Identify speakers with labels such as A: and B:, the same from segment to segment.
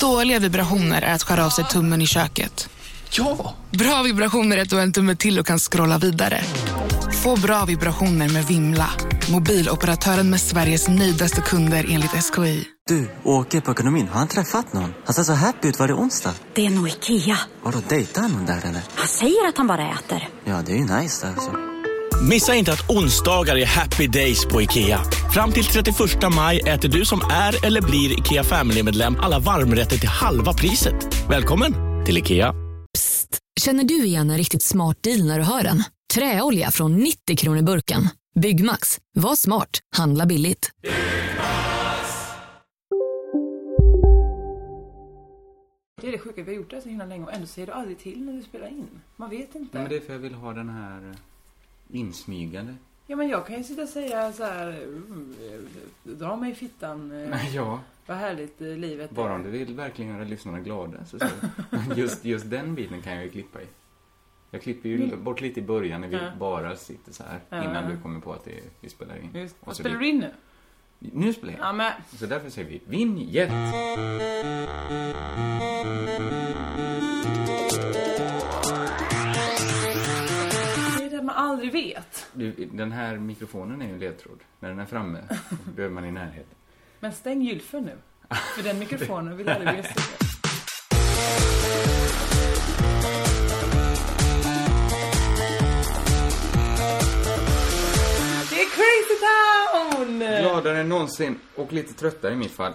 A: Dåliga vibrationer är att skära av sig tummen i köket.
B: Ja!
A: Bra vibrationer är att du har en tumme till och kan scrolla vidare. Få bra vibrationer med Vimla. Mobiloperatören med Sveriges nöjdaste kunder enligt SKI.
C: Du, åker på ekonomin. Har han träffat någon? Han ser så happy ut. Var det onsdag?
D: Det är nog Ikea.
C: Vadå, dejtar han någon där eller?
D: Han säger att han bara äter.
C: Ja, det är ju nice där alltså.
E: Missa inte att onsdagar är happy days på IKEA. Fram till 31 maj äter du som är eller blir IKEA Family-medlem alla varmrätter till halva priset. Välkommen till IKEA.
F: Känner du igen en riktigt smart deal när du hör den? Träolja från 90 kronor burken. Byggmax. Var smart. Handla billigt.
G: Det är det sjuka, vi har gjort det här så himla länge och ändå säger du aldrig till när du spelar in. Man vet inte.
B: Nej, men det är för jag vill ha den här eh, insmygande.
G: Ja men jag kan ju sitta och säga så här. "Mm, eh, Dra mig i fittan. eh,
B: Nej, ja.
G: Vad härligt eh, livet är."
B: Bara om du vill verkligen göra lyssnarna glada. Så, så. Just, just den biten kan jag ju klippa i. Jag klipper ju bort lite i början när vi
G: Ja.
B: bara sitter så här.
G: Ja,
B: Innan
G: ja.
B: du kommer på att det, vi spelar in.
G: Just,
B: Och
G: vad
B: så
G: spelar
B: vi-
G: du in nu?
B: Nu spelar jag.
G: Ja men.
B: Så därför säger vi vinjett.
G: Det är det man aldrig vet.
B: Du, Den här mikrofonen är ju en ledtråd. När den är framme då behöver man i närheten.
G: Men stäng gylfen nu. För den mikrofonen vill aldrig bli stängd. Det är crazy town!
B: Gladare än någonsin och lite tröttare i mitt fall.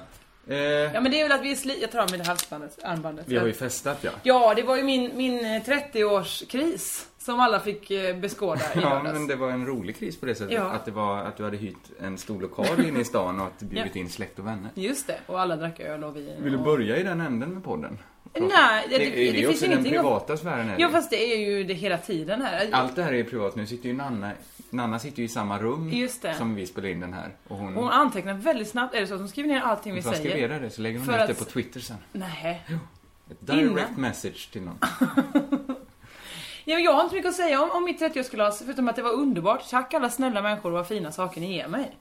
B: Eh,
G: Ja men det är väl att vi är sli... Jag tar av mig det halsbandet, armbandet.
B: vi har ju festat ja.
G: Ja, det var ju min, min eh, 30-årskris som alla fick eh, beskåda i
B: Ja,
G: lördags.
B: men det var en rolig kris på det sättet.
G: Ja.
B: Att, det var, att du hade hyrt en stor lokal inne i stan och att du bjudit
G: Ja.
B: in släkt och vänner.
G: Just det, och alla drack öl och vin.
B: Vill du
G: och...
B: börja i den änden med podden?
G: Nej, det, det,
B: är
G: det finns
B: också den
G: ingenting att...
B: privata sfären? eller?
G: Ja, fast det är ju det hela tiden här.
B: Allt det här är ju privat. Nu sitter ju Nanna, Nanna sitter ju i samma rum
G: Just det.
B: som vi spelar in den här. Och hon,
G: Hon antecknar väldigt snabbt, är det så att hon skriver ner allting vi
B: hon
G: säger?
B: transkriberar det så lägger hon
G: För
B: ut
G: att-
B: det på Twitter sen.
G: Nej.
B: Ett direct
G: Innan. Ah.
B: message till någon.
G: Ja, men jag har inte så mycket att säga om, om mitt 30-årskalas, förutom att det var underbart. Tack alla snälla människor och vad fina saker ni ger mig.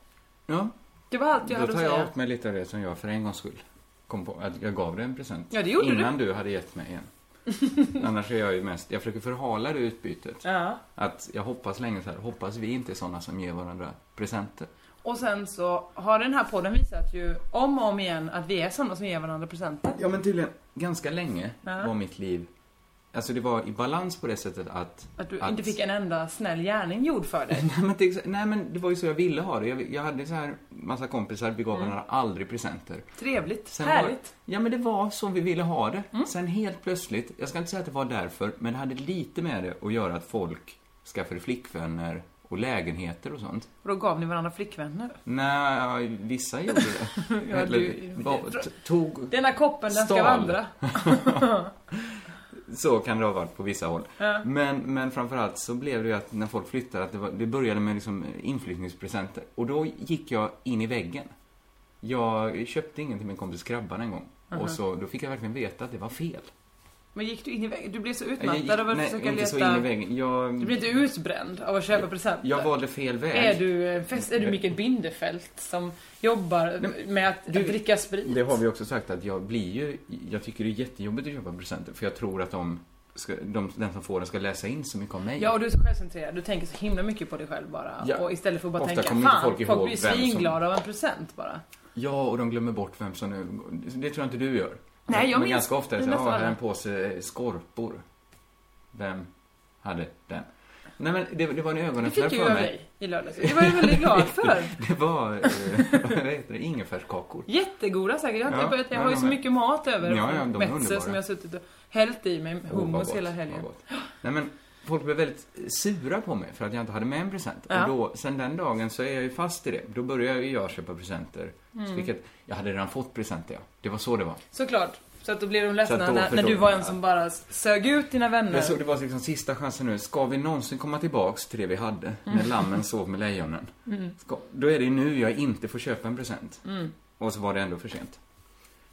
B: Ja,
G: Det var allt jag
B: då
G: hade att
B: tar jag
G: säga.
B: åt mig lite av det som jag för en gångs skull kom på. Att jag gav dig en present.
G: Ja, det gjorde du.
B: Innan du hade gett mig en. Annars är jag ju mest, jag försöker förhala det utbytet.
G: Ja.
B: Att jag hoppas länge så här, hoppas vi inte är sådana som ger varandra presenter.
G: Och sen så har den här podden visat ju om och om igen att vi är sådana som ger varandra presenter.
B: Ja men tydligen, ganska länge
G: Ja.
B: var mitt liv, alltså det var i balans på det sättet att...
G: Att du inte fick en enda snäll gärning gjord för dig.
B: Nej men, till exa- nej men det var ju så jag ville ha det. Jag, jag hade så här massa kompisar, vi
G: Mm.
B: gav varandra aldrig presenter.
G: Trevligt,
B: Sen
G: härligt. Mm.
B: Var, ja, men det var så vi ville ha det. Sen helt plötsligt, jag ska inte säga att det var därför, men det hade lite med det att göra att folk skaffade flickvänner och lägenheter och sånt.
G: Och då gav ni varandra flickvänner.
B: Nej, vissa gjorde det.
G: Ja,
B: Eller
G: du-
B: var- t- tog,
G: Denna koppen, den ska
B: Stal.
G: vandra.
B: så kan det ha varit på vissa håll. Men, men framförallt så blev det ju att när folk flyttade, att det, var, det började med liksom inflyttningspresenter. Och då gick jag in i väggen. Jag köpte ingen till min kompis Krabban en gång.
G: Mhm.
B: Och så, då fick jag verkligen veta att det var fel.
G: Men gick du in i väggen? Du blev så
B: Jag gick-
G: utmattad av att
B: nej,
G: försöka
B: inte
G: leta...
B: så in i väggen. Jag,
G: Du blev inte utbränd av att köpa presenter?
B: Jag valde fel väg.
G: Är du, en fest, är du Mikael Bindefeld som jobbar med att
B: du-
G: dricka sprit?
B: Det har vi också sagt att jag blir ju, jag tycker det är jättejobbigt att köpa presenter för jag tror att de, ska, de den som får den ska läsa in så mycket om mig.
G: Ja, och du är så självcentrerad. Du tänker så himla mycket på dig själv bara.
B: Ja.
G: Och istället för att bara
B: Ofta
G: tänka,
B: kommer inte
G: fan,
B: folk
G: folk,
B: ihåg
G: blir
B: vem som-
G: svinglada av en present bara.
B: ja, och de glömmer bort vem som nu, det tror jag inte du gör.
G: Nej,
B: Men-
G: jag
B: Men
G: minns
B: ganska ofta är det så här,
G: nästan
B: "Ah, här är en
G: alla."
B: påse skorpor. Vem hade den? Nej men det, det var en
G: Det
B: ögonöppnare
G: fick ju
B: för
G: av
B: mig.
G: dig i lördags. Det var jag väldigt glad för.
B: Det var, eh, vad heter det, ingefärskakor.
G: Jättegoda säkert. Jag, har inte
B: Ja,
G: börjat- jag
B: ja,
G: har ju
B: de
G: så
B: är-
G: mycket mat över
B: Ja, ja, de är
G: från Metzer
B: underbara.
G: som jag har suttit och hällt i mig
B: Åh, Oh, vad
G: hummus
B: gott,
G: hela
B: vad
G: helgen.
B: gott. Nej, men folk blev väldigt eh, sura på mig för att jag inte hade med en present.
G: Ja.
B: Och då, sen den dagen så är jag ju fast i det. Då började ju jag köpa presenter.
G: Mm.
B: Så fick jag, ett- jag hade redan fått presenter, ja. Det var så det var.
G: Såklart. Så att då blev de
B: Så
G: ledsna
B: att då
G: när, när
B: förstod
G: du var
B: de.
G: en som bara sög ut dina vänner.
B: Jag såg det var liksom sista chansen nu. Ska vi någonsin komma tillbaks till det vi hade?
G: Mm.
B: När lammen sov med lejonen.
G: Mm.
B: Ska, då är det ju nu jag inte får köpa en present. Och så var det ändå för sent.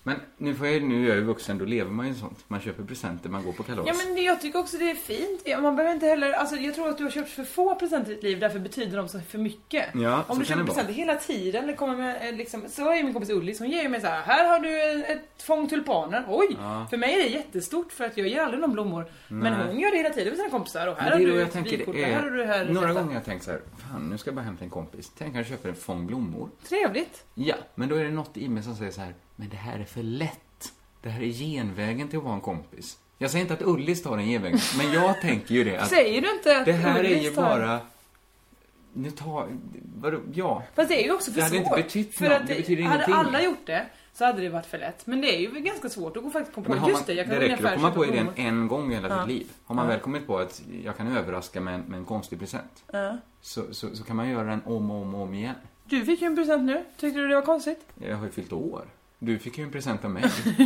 B: Men nu, får jag, nu är jag ju vuxen, då lever man ju sånt. Man köper presenter, man går på kalas.
G: Ja men det- jag tycker också det är fint. Ja, Man behöver inte heller, alltså jag tror att du har köpt för få presenter i ditt liv därför betyder de så för mycket.
B: Ja, så
G: Om du
B: kan
G: köper
B: det vara.
G: presenter hela tiden eller kommer med eh, liksom, så är min kompis Ullis, hon ger ju mig så här, här har du en- ett fång tulpaner. Oj! För mig är det jättestort för att jag ger aldrig någon blommor. Men hon gör det hela tiden med sina kompisar och här
B: Men
G: har
B: det är då
G: du
B: jag
G: ett
B: tänker,
G: vykort,
B: det
G: här har du det här.
B: är, några
G: detta.
B: gånger har jag tänkt så här, fan nu ska jag bara hem till en kompis. Tänk han köper en fång blommor.
G: Trevligt.
B: Ja, men då är det något i mig som säger så här, men det här är för lätt. Det här är genvägen till att vara en kompis. Jag säger inte att Ullis tar den genvägen, men jag tänker ju det. Att
G: Säger du inte att
B: det här är
G: Ullis
B: ju
G: tar-
B: bara... Nu tar... Vadå? Ja.
G: Fast det är ju också för
B: Det hade
G: svårt.
B: inte betytt
G: för
B: något.
G: att
B: Det betyder
G: hade
B: ingenting.
G: alla gjort det så hade det varit för lätt. Men det är ju ganska svårt att gå faktiskt komma på.
B: Men har man,
G: Just det, jag kan
B: det räcker
G: ungefär
B: att komma
G: köpa
B: på idén
G: blommor.
B: en gång i hela sitt liv. Har man väl kommit på att jag kan överraska med en, med en konstig present, så, så, så kan man göra den om och om och om igen.
G: Du fick ju en present nu. Tyckte du det var konstigt?
B: Jag har ju fyllt år. Du fick ju en present av mig.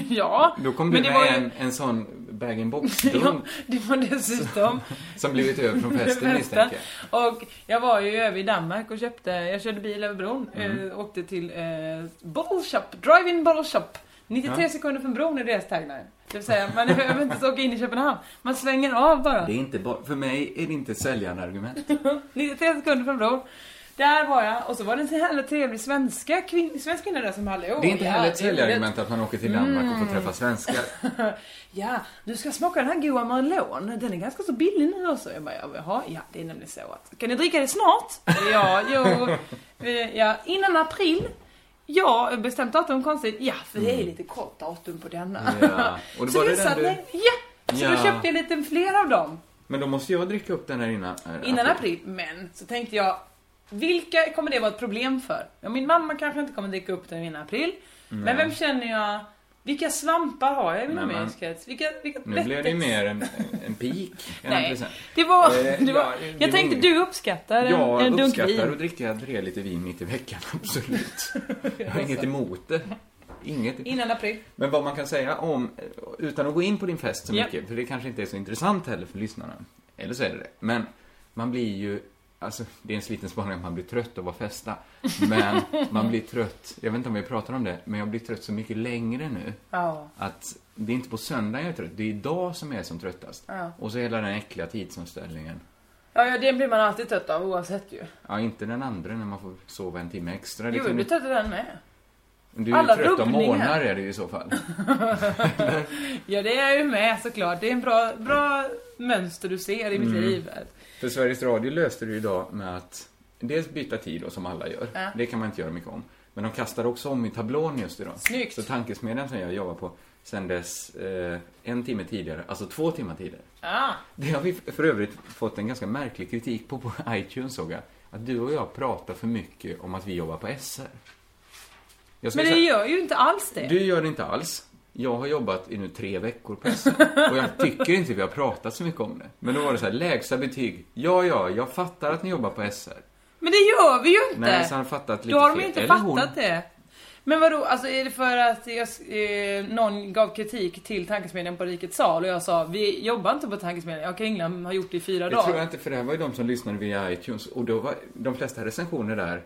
G: Ja.
B: Då kom
G: men
B: du
G: det
B: med
G: var ju-
B: en, en sån
G: Ja,
B: bag-in-box-dunk
G: det var dessutom
B: som blivit över från festen
G: festen.
B: misstänker jag.
G: Och jag var ju över i Danmark och köpte, jag körde bil över bron.
B: Mm.
G: Eh, åkte till eh, Bottle Shop, Drive-In Bottle Shop. 93 sekunder från bron är deras tagline. Det vill säga, man behöver inte ens åka in i Köpenhamn. Man svänger av bara.
B: Det är inte bara, för mig är det inte ett säljarargument.
G: 93 sekunder från bron. Där var jag och så var det en så härligt trevlig svenska kvin- svensk kvinna där som hade... åh,
B: Det är inte
G: ja,
B: heller ett
G: det Mm. är
B: säljargument att man åker till Danmark och får träffa svenskar.
G: Ja, du ska smaka den här goa Merlon. Den är ganska så billig nu också. Jag bara, ja, jaha, ja det är nämligen så att... Kan ni dricka det snart? ja, jo, eh, ja, innan april. Ja, bestämt datum konstigt. Ja, för det är lite kort datum på denna.
B: Mm. Ja, och då
G: så
B: var det
G: visade
B: den du-
G: den- Ja, så
B: Ja.
G: då köpte jag lite fler av dem.
B: Men då måste jag dricka upp den här innan eh,
G: Innan april, men så tänkte jag vilka kommer det vara ett problem för? Ja, min mamma kanske inte kommer dricka upp den innan april. Men vem känner jag? Vilka svampar har jag i min
B: Nej, men-
G: omgivningskrets? Vilka, vilka
B: Nu blev det ju
G: lättex-
B: mer en, en pik än en
G: Nej,
B: present.
G: det var...
B: Eh,
G: Det var
B: ja, det
G: jag
B: var
G: tänkte
B: inget.
G: du uppskattar en,
B: Jag
G: en dunk
B: uppskattar
G: vin.
B: att dricka tre liter vin mitt i veckan, absolut. Jag har inget emot det. Inget.
G: Innan april.
B: Men vad man kan säga om, utan att gå in på din fest så
G: Ja.
B: mycket, för det kanske inte är så intressant heller för lyssnarna. Eller så är det det. Men man blir ju, alltså det är en sliten spaning att man blir trött av att festa. Men man blir trött, jag vet inte om vi pratar om det, men jag blir trött så mycket längre nu.
G: Ja.
B: Att det är inte på söndagen jag är trött, det är idag som jag är som tröttast. Och så hela den äckliga tidsomställningen.
G: Ja, ja, den blir man alltid trött av oavsett ju.
B: Ja, inte den andra när man får sova en timme extra. Det
G: Jo,
B: kan
G: jag
B: ju-
G: blir trött av den med.
B: du är ju
G: alla
B: trött av
G: rubbningar.
B: morgnar är det ju i så fall.
G: Ja, det är jag ju med såklart. Det är en bra, bra mönster du ser i mitt
B: Mm.
G: liv.
B: För Sveriges Radio löste det ju idag med att dels byta tid då, som alla gör.
G: Ja.
B: Det kan man inte göra mycket om. Men de kastar också om i tablån just idag.
G: Snyggt.
B: Så tankesmedjan som jag jobbar på sändes eh, en timme tidigare, alltså två timmar tidigare.
G: Ah,
B: Det har vi för övrigt fått en ganska märklig kritik på på iTunes såg jag. Att du och jag pratar för mycket om att vi jobbar på SR. Jag skulle
G: men det
B: säga-
G: gör ju inte alls det.
B: Du gör det inte alls. Jag har jobbat i nu tre veckor på SR. Och jag tycker inte vi har pratat så mycket om det. Men då var det så här, lägsta betyg. Ja, ja, jag fattar att ni jobbar på SR.
G: Men det gör vi ju inte!
B: Nej, så har han fattat lite
G: Då har de
B: fel.
G: ju inte
B: Eller
G: fattat
B: hon.
G: det. Men vadå, alltså är det för att jag, eh, någon gav kritik till tankesmedjan på Rikets sal och jag sa vi jobbar inte på tankesmedjan, jag och England har gjort det i fyra
B: Det
G: dagar.
B: tror jag inte, för det här var ju de som lyssnade via iTunes. Och då var de flesta recensioner där,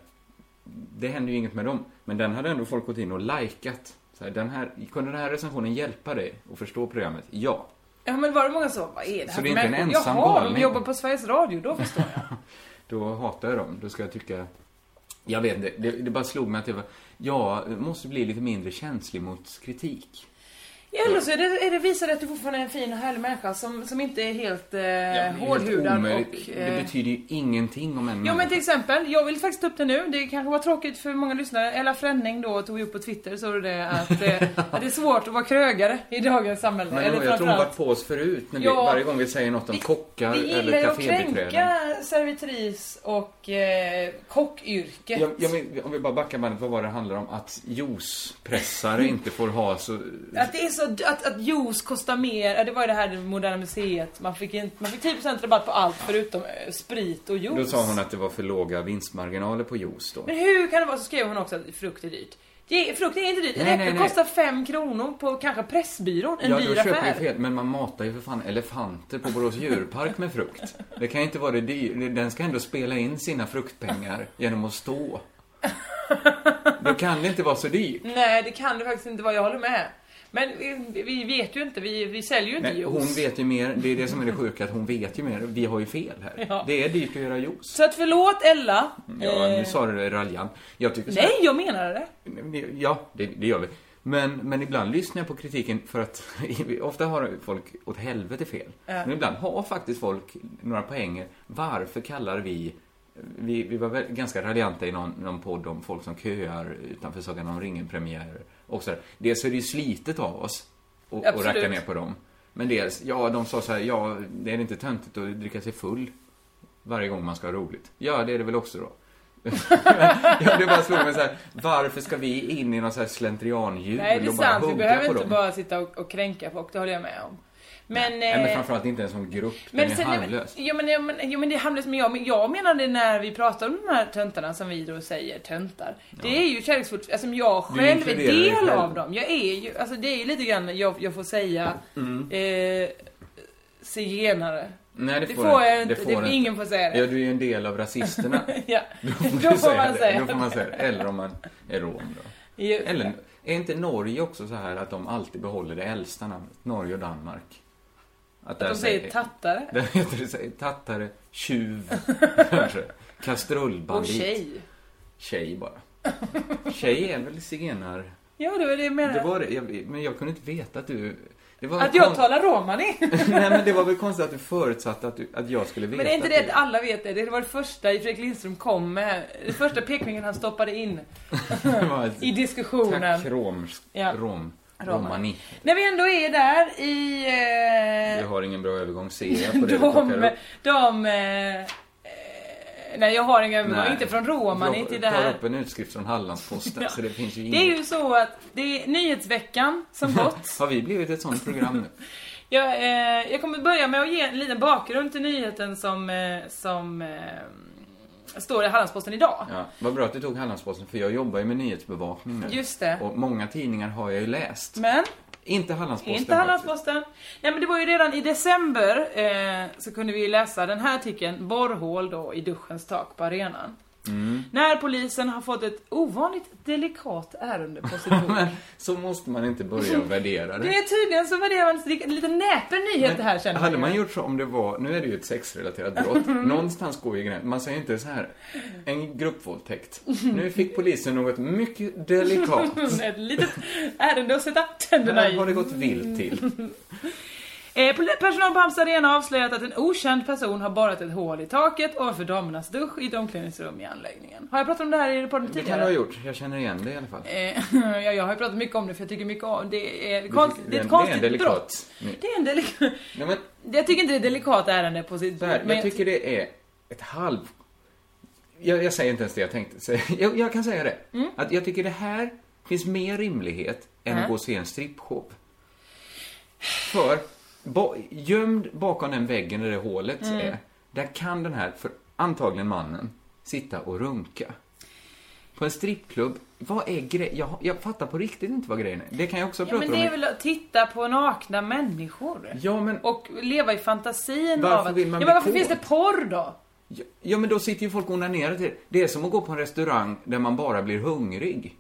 B: det hände ju inget med dem. Men den hade ändå folk gått in och likat. Så här, den här, kunde den här recensionen hjälpa dig att förstå programmet? Ja.
G: Ja men var det många som vad är det här
B: Så det är
G: för
B: inte en
G: människor?
B: ensam
G: Jaha, de
B: galning?
G: jobbar på Sveriges Radio, då förstår jag.
B: Då hatar jag dem. Då ska jag tycka... Jag vet inte, det, det bara slog mig att det var... Ja, måste bli lite mindre känslig mot kritik.
G: Eller så är det, är det visar det att du fortfarande är en fin och härlig människa som, som inte är helt eh,
B: det är helt
G: hårdhudad
B: omöjligt.
G: och...
B: Det
G: Eh,
B: betyder ju ingenting om en
G: Jo men
B: människa.
G: till exempel, jag vill faktiskt ta upp det nu. Det kanske var tråkigt för många lyssnare. Ella Fränning då tog ju upp på Twitter så var det det att, eh, att det är svårt att vara krögare i dagens samhälle.
B: Men jag tror hon varit på oss förut, när vi,
G: Ja.
B: varje gång vi säger något om
G: Vi-
B: kockar
G: vi gillar
B: eller
G: ju att
B: kafébiträden.
G: kränka servitris och eh, kockyrket.
B: Jag, jag, men- om vi bara backar bandet, vad var det handlar om? Att juicepressare
G: Mm.
B: inte får ha så...
G: Att det är så, att, att juice kostar mer, ja, det var ju det här det Moderna Museet. Man fick, en, man fick 10% rabatt på allt förutom eh, sprit och juice.
B: Då sa hon att det var för låga vinstmarginaler på juice då.
G: Men hur kan det vara, så skrev hon också att frukt är dyrt. Det- Frukt är inte dyrt, en
B: Nej, nej,
G: äpple
B: nej.
G: kostar 5 kronor på kanske Pressbyrån, en
B: ja,
G: dyr
B: då köper
G: affär.
B: jag fel. Men man matar ju för fan elefanter på Borås djurpark med frukt. Det kan ju inte vara det dyr. Den ska ändå spela in sina fruktpengar genom att stå. Då kan det inte vara så dyrt.
G: Nej, det kan det faktiskt inte vara. Jag håller med. Men vi, vi vet ju inte. Vi, vi säljer ju inte
B: Men
G: juice.
B: hon vet ju mer, det är det som är det sjuka, att hon vet ju mer. Vi har ju fel här.
G: Ja.
B: Det är dyrt att göra juice.
G: Så att förlåt Ella.
B: Ja,
G: Eh,
B: nu sa du det raljant. Jag tycker så här-
G: Nej, jag menade det.
B: Ja, det, det gör vi. Men, men ibland lyssnar jag på kritiken för att ofta har folk åt helvete fel. Men ibland har faktiskt folk några poänger. Varför kallar vi vi, vi var väl ganska raljanta i någon, någon podd om folk som köar utanför Sagan om ringen-premiärer. och så där. Dels är det ju slitet av oss och, och
G: Absolut.
B: racka ner på dem. Men dels, ja, de sa så här, ja, det är inte töntigt att dricka sig full varje gång man ska ha roligt. Ja, det är det väl också då. Ja, det bara slog mig så här, varför ska vi in i någon så här slentrianhjul
G: Nej, det är
B: och bara
G: sant. Vi
B: hugga
G: behöver
B: på
G: inte
B: dem?
G: bara sitta och, och kränka folk. Det håller jag med om. Men,
B: Nej, men
G: eh,
B: framförallt inte en sån grupp,
G: Men
B: den är
G: sen-
B: harmlös.
G: Jo men, jo, men, jo men det är harmlöst, men jag, men jag menar det när vi pratar om de här töntarna som vi då säger töntar. Det är ju kärleksfullt, alltså jag
B: Du
G: själv är
B: inkluderar dig
G: del
B: själv.
G: av dem. Jag är ju, alltså det är ju lite grann, jag, jag får säga, eh, zigenare.
B: Mm. Nej, det,
G: Det
B: får,
G: får
B: du
G: jag
B: inte.
G: inte, det,
B: du inte.
G: ingen får säga det.
B: Ja, du är ju en del av rasisterna.
G: Ja,
B: Då får, du
G: då får man säga
B: Då får man
G: det.
B: säga det. Eller om man är rom då.
G: Ju-
B: Eller, är inte Norge också så här att de alltid behåller det äldsta namnet? Norge och Danmark. Att, där
G: De säger tattare
B: Där heter det så här, tattare, tjuv, kanske.
G: och
B: Kastrullbandit.
G: tjej.
B: Tjej bara. Tjej är väl zigenar...
G: Ja det var det jag menade.
B: Det var det, jag, men jag kunde inte veta att du... Det var
G: Att jag
B: kon-
G: talar romani.
B: Nej men det var väl konstigt att du förutsatte att, du, att jag skulle veta
G: Men är inte
B: att
G: det
B: du-
G: att alla vet det? Det var det första Fredrik Lindström kom med. Det första pekfingret han stoppade in
B: det var ett-
G: i diskussionen.
B: Tack roms,
G: Ja.
B: rom,
G: Romani.
B: romani.
G: När vi ändå är där i...
B: Du
G: Eh,
B: har ingen bra övergång ser jag på det du plockar
G: de...
B: upp.
G: de eh, eh, nej, jag har inga övergång. Inte från Romani
B: Jag
G: till det
B: tar
G: här.
B: upp en utskrift från Hallandsposten så det finns ju
G: Det
B: inget.
G: är ju så att det är nyhetsveckan som gått.
B: Har vi blivit ett sånt program nu?
G: Jag, eh, jag kommer börja med att ge en liten bakgrund till nyheten som, eh, som eh, står i Hallandsposten idag.
B: Ja, vad bra att du tog Hallandsposten för jag jobbar ju med nyhetsbevakning nu.
G: Just det.
B: Och många tidningar har jag ju läst.
G: Men
B: Inte Hallandsposten.
G: Inte Hallandsposten. Nej men det var ju redan i december eh, så kunde vi ju läsa den här artikeln, borrhål då i duschens tak på arenan.
B: Mm.
G: När polisen har fått ett ovanligt delikat ärende på sitt bord.
B: Men så måste man inte börja och värdera det.
G: Det är tydligen så värderar man inte en liten näpen nyhet det här känner
B: Hade
G: jag.
B: man gjort så om det var, nu är det ju ett sexrelaterat brott, någonstans går ju gränsen. Man säger inte så här, en gruppvåldtäkt. Nu fick polisen något mycket delikat.
G: Ett litet ärende att sätta tänderna
B: Här har
G: i.
B: det gått vilt till.
G: Eh, pol- personal på Halmstad Arena har avslöjat att en okänd person har borrat ett hål i taket ovanför damernas dusch i ett omklädningsrum i anläggningen. Har jag pratat om det här i podden
B: Det
G: tidigare?
B: kan du ha gjort, jag känner igen det i alla fall.
G: Eh, ja, jag har ju pratat mycket om det för jag tycker mycket om det. Är konst, det,
B: det
G: är
B: är
G: ett konstigt
B: delikat.
G: brott.
B: Nej.
G: Det är en delikat...
B: Nej, men,
G: Jag tycker inte det är ett delikat ärende på sitt
B: så här,
G: men
B: jag tycker det är ett halv... Jag, jag säger inte ens det jag tänkte säga. Jag, jag kan säga det.
G: Mm.
B: Att jag tycker det här finns mer rimlighet än att gå och se en strippshow. För, ba, gömd bakom den väggen där det hålet
G: Mm.
B: är, där kan den här, för antagligen mannen, sitta och runka. På en strippklubb, vad är grejen? Jag, jag fattar på riktigt inte vad grejen är. Det kan jag också
G: ja,
B: prata
G: men
B: om.
G: det är väl att titta på nakna människor.
B: Ja, men-
G: Och leva i fantasin
B: Varför
G: av att...
B: vill man
G: ja,
B: bli
G: men varför
B: kåt?
G: finns det porr då?
B: Ja, Ja, men då sitter ju folk och onanerar till det. Det är som att gå på en restaurang där man bara blir hungrig.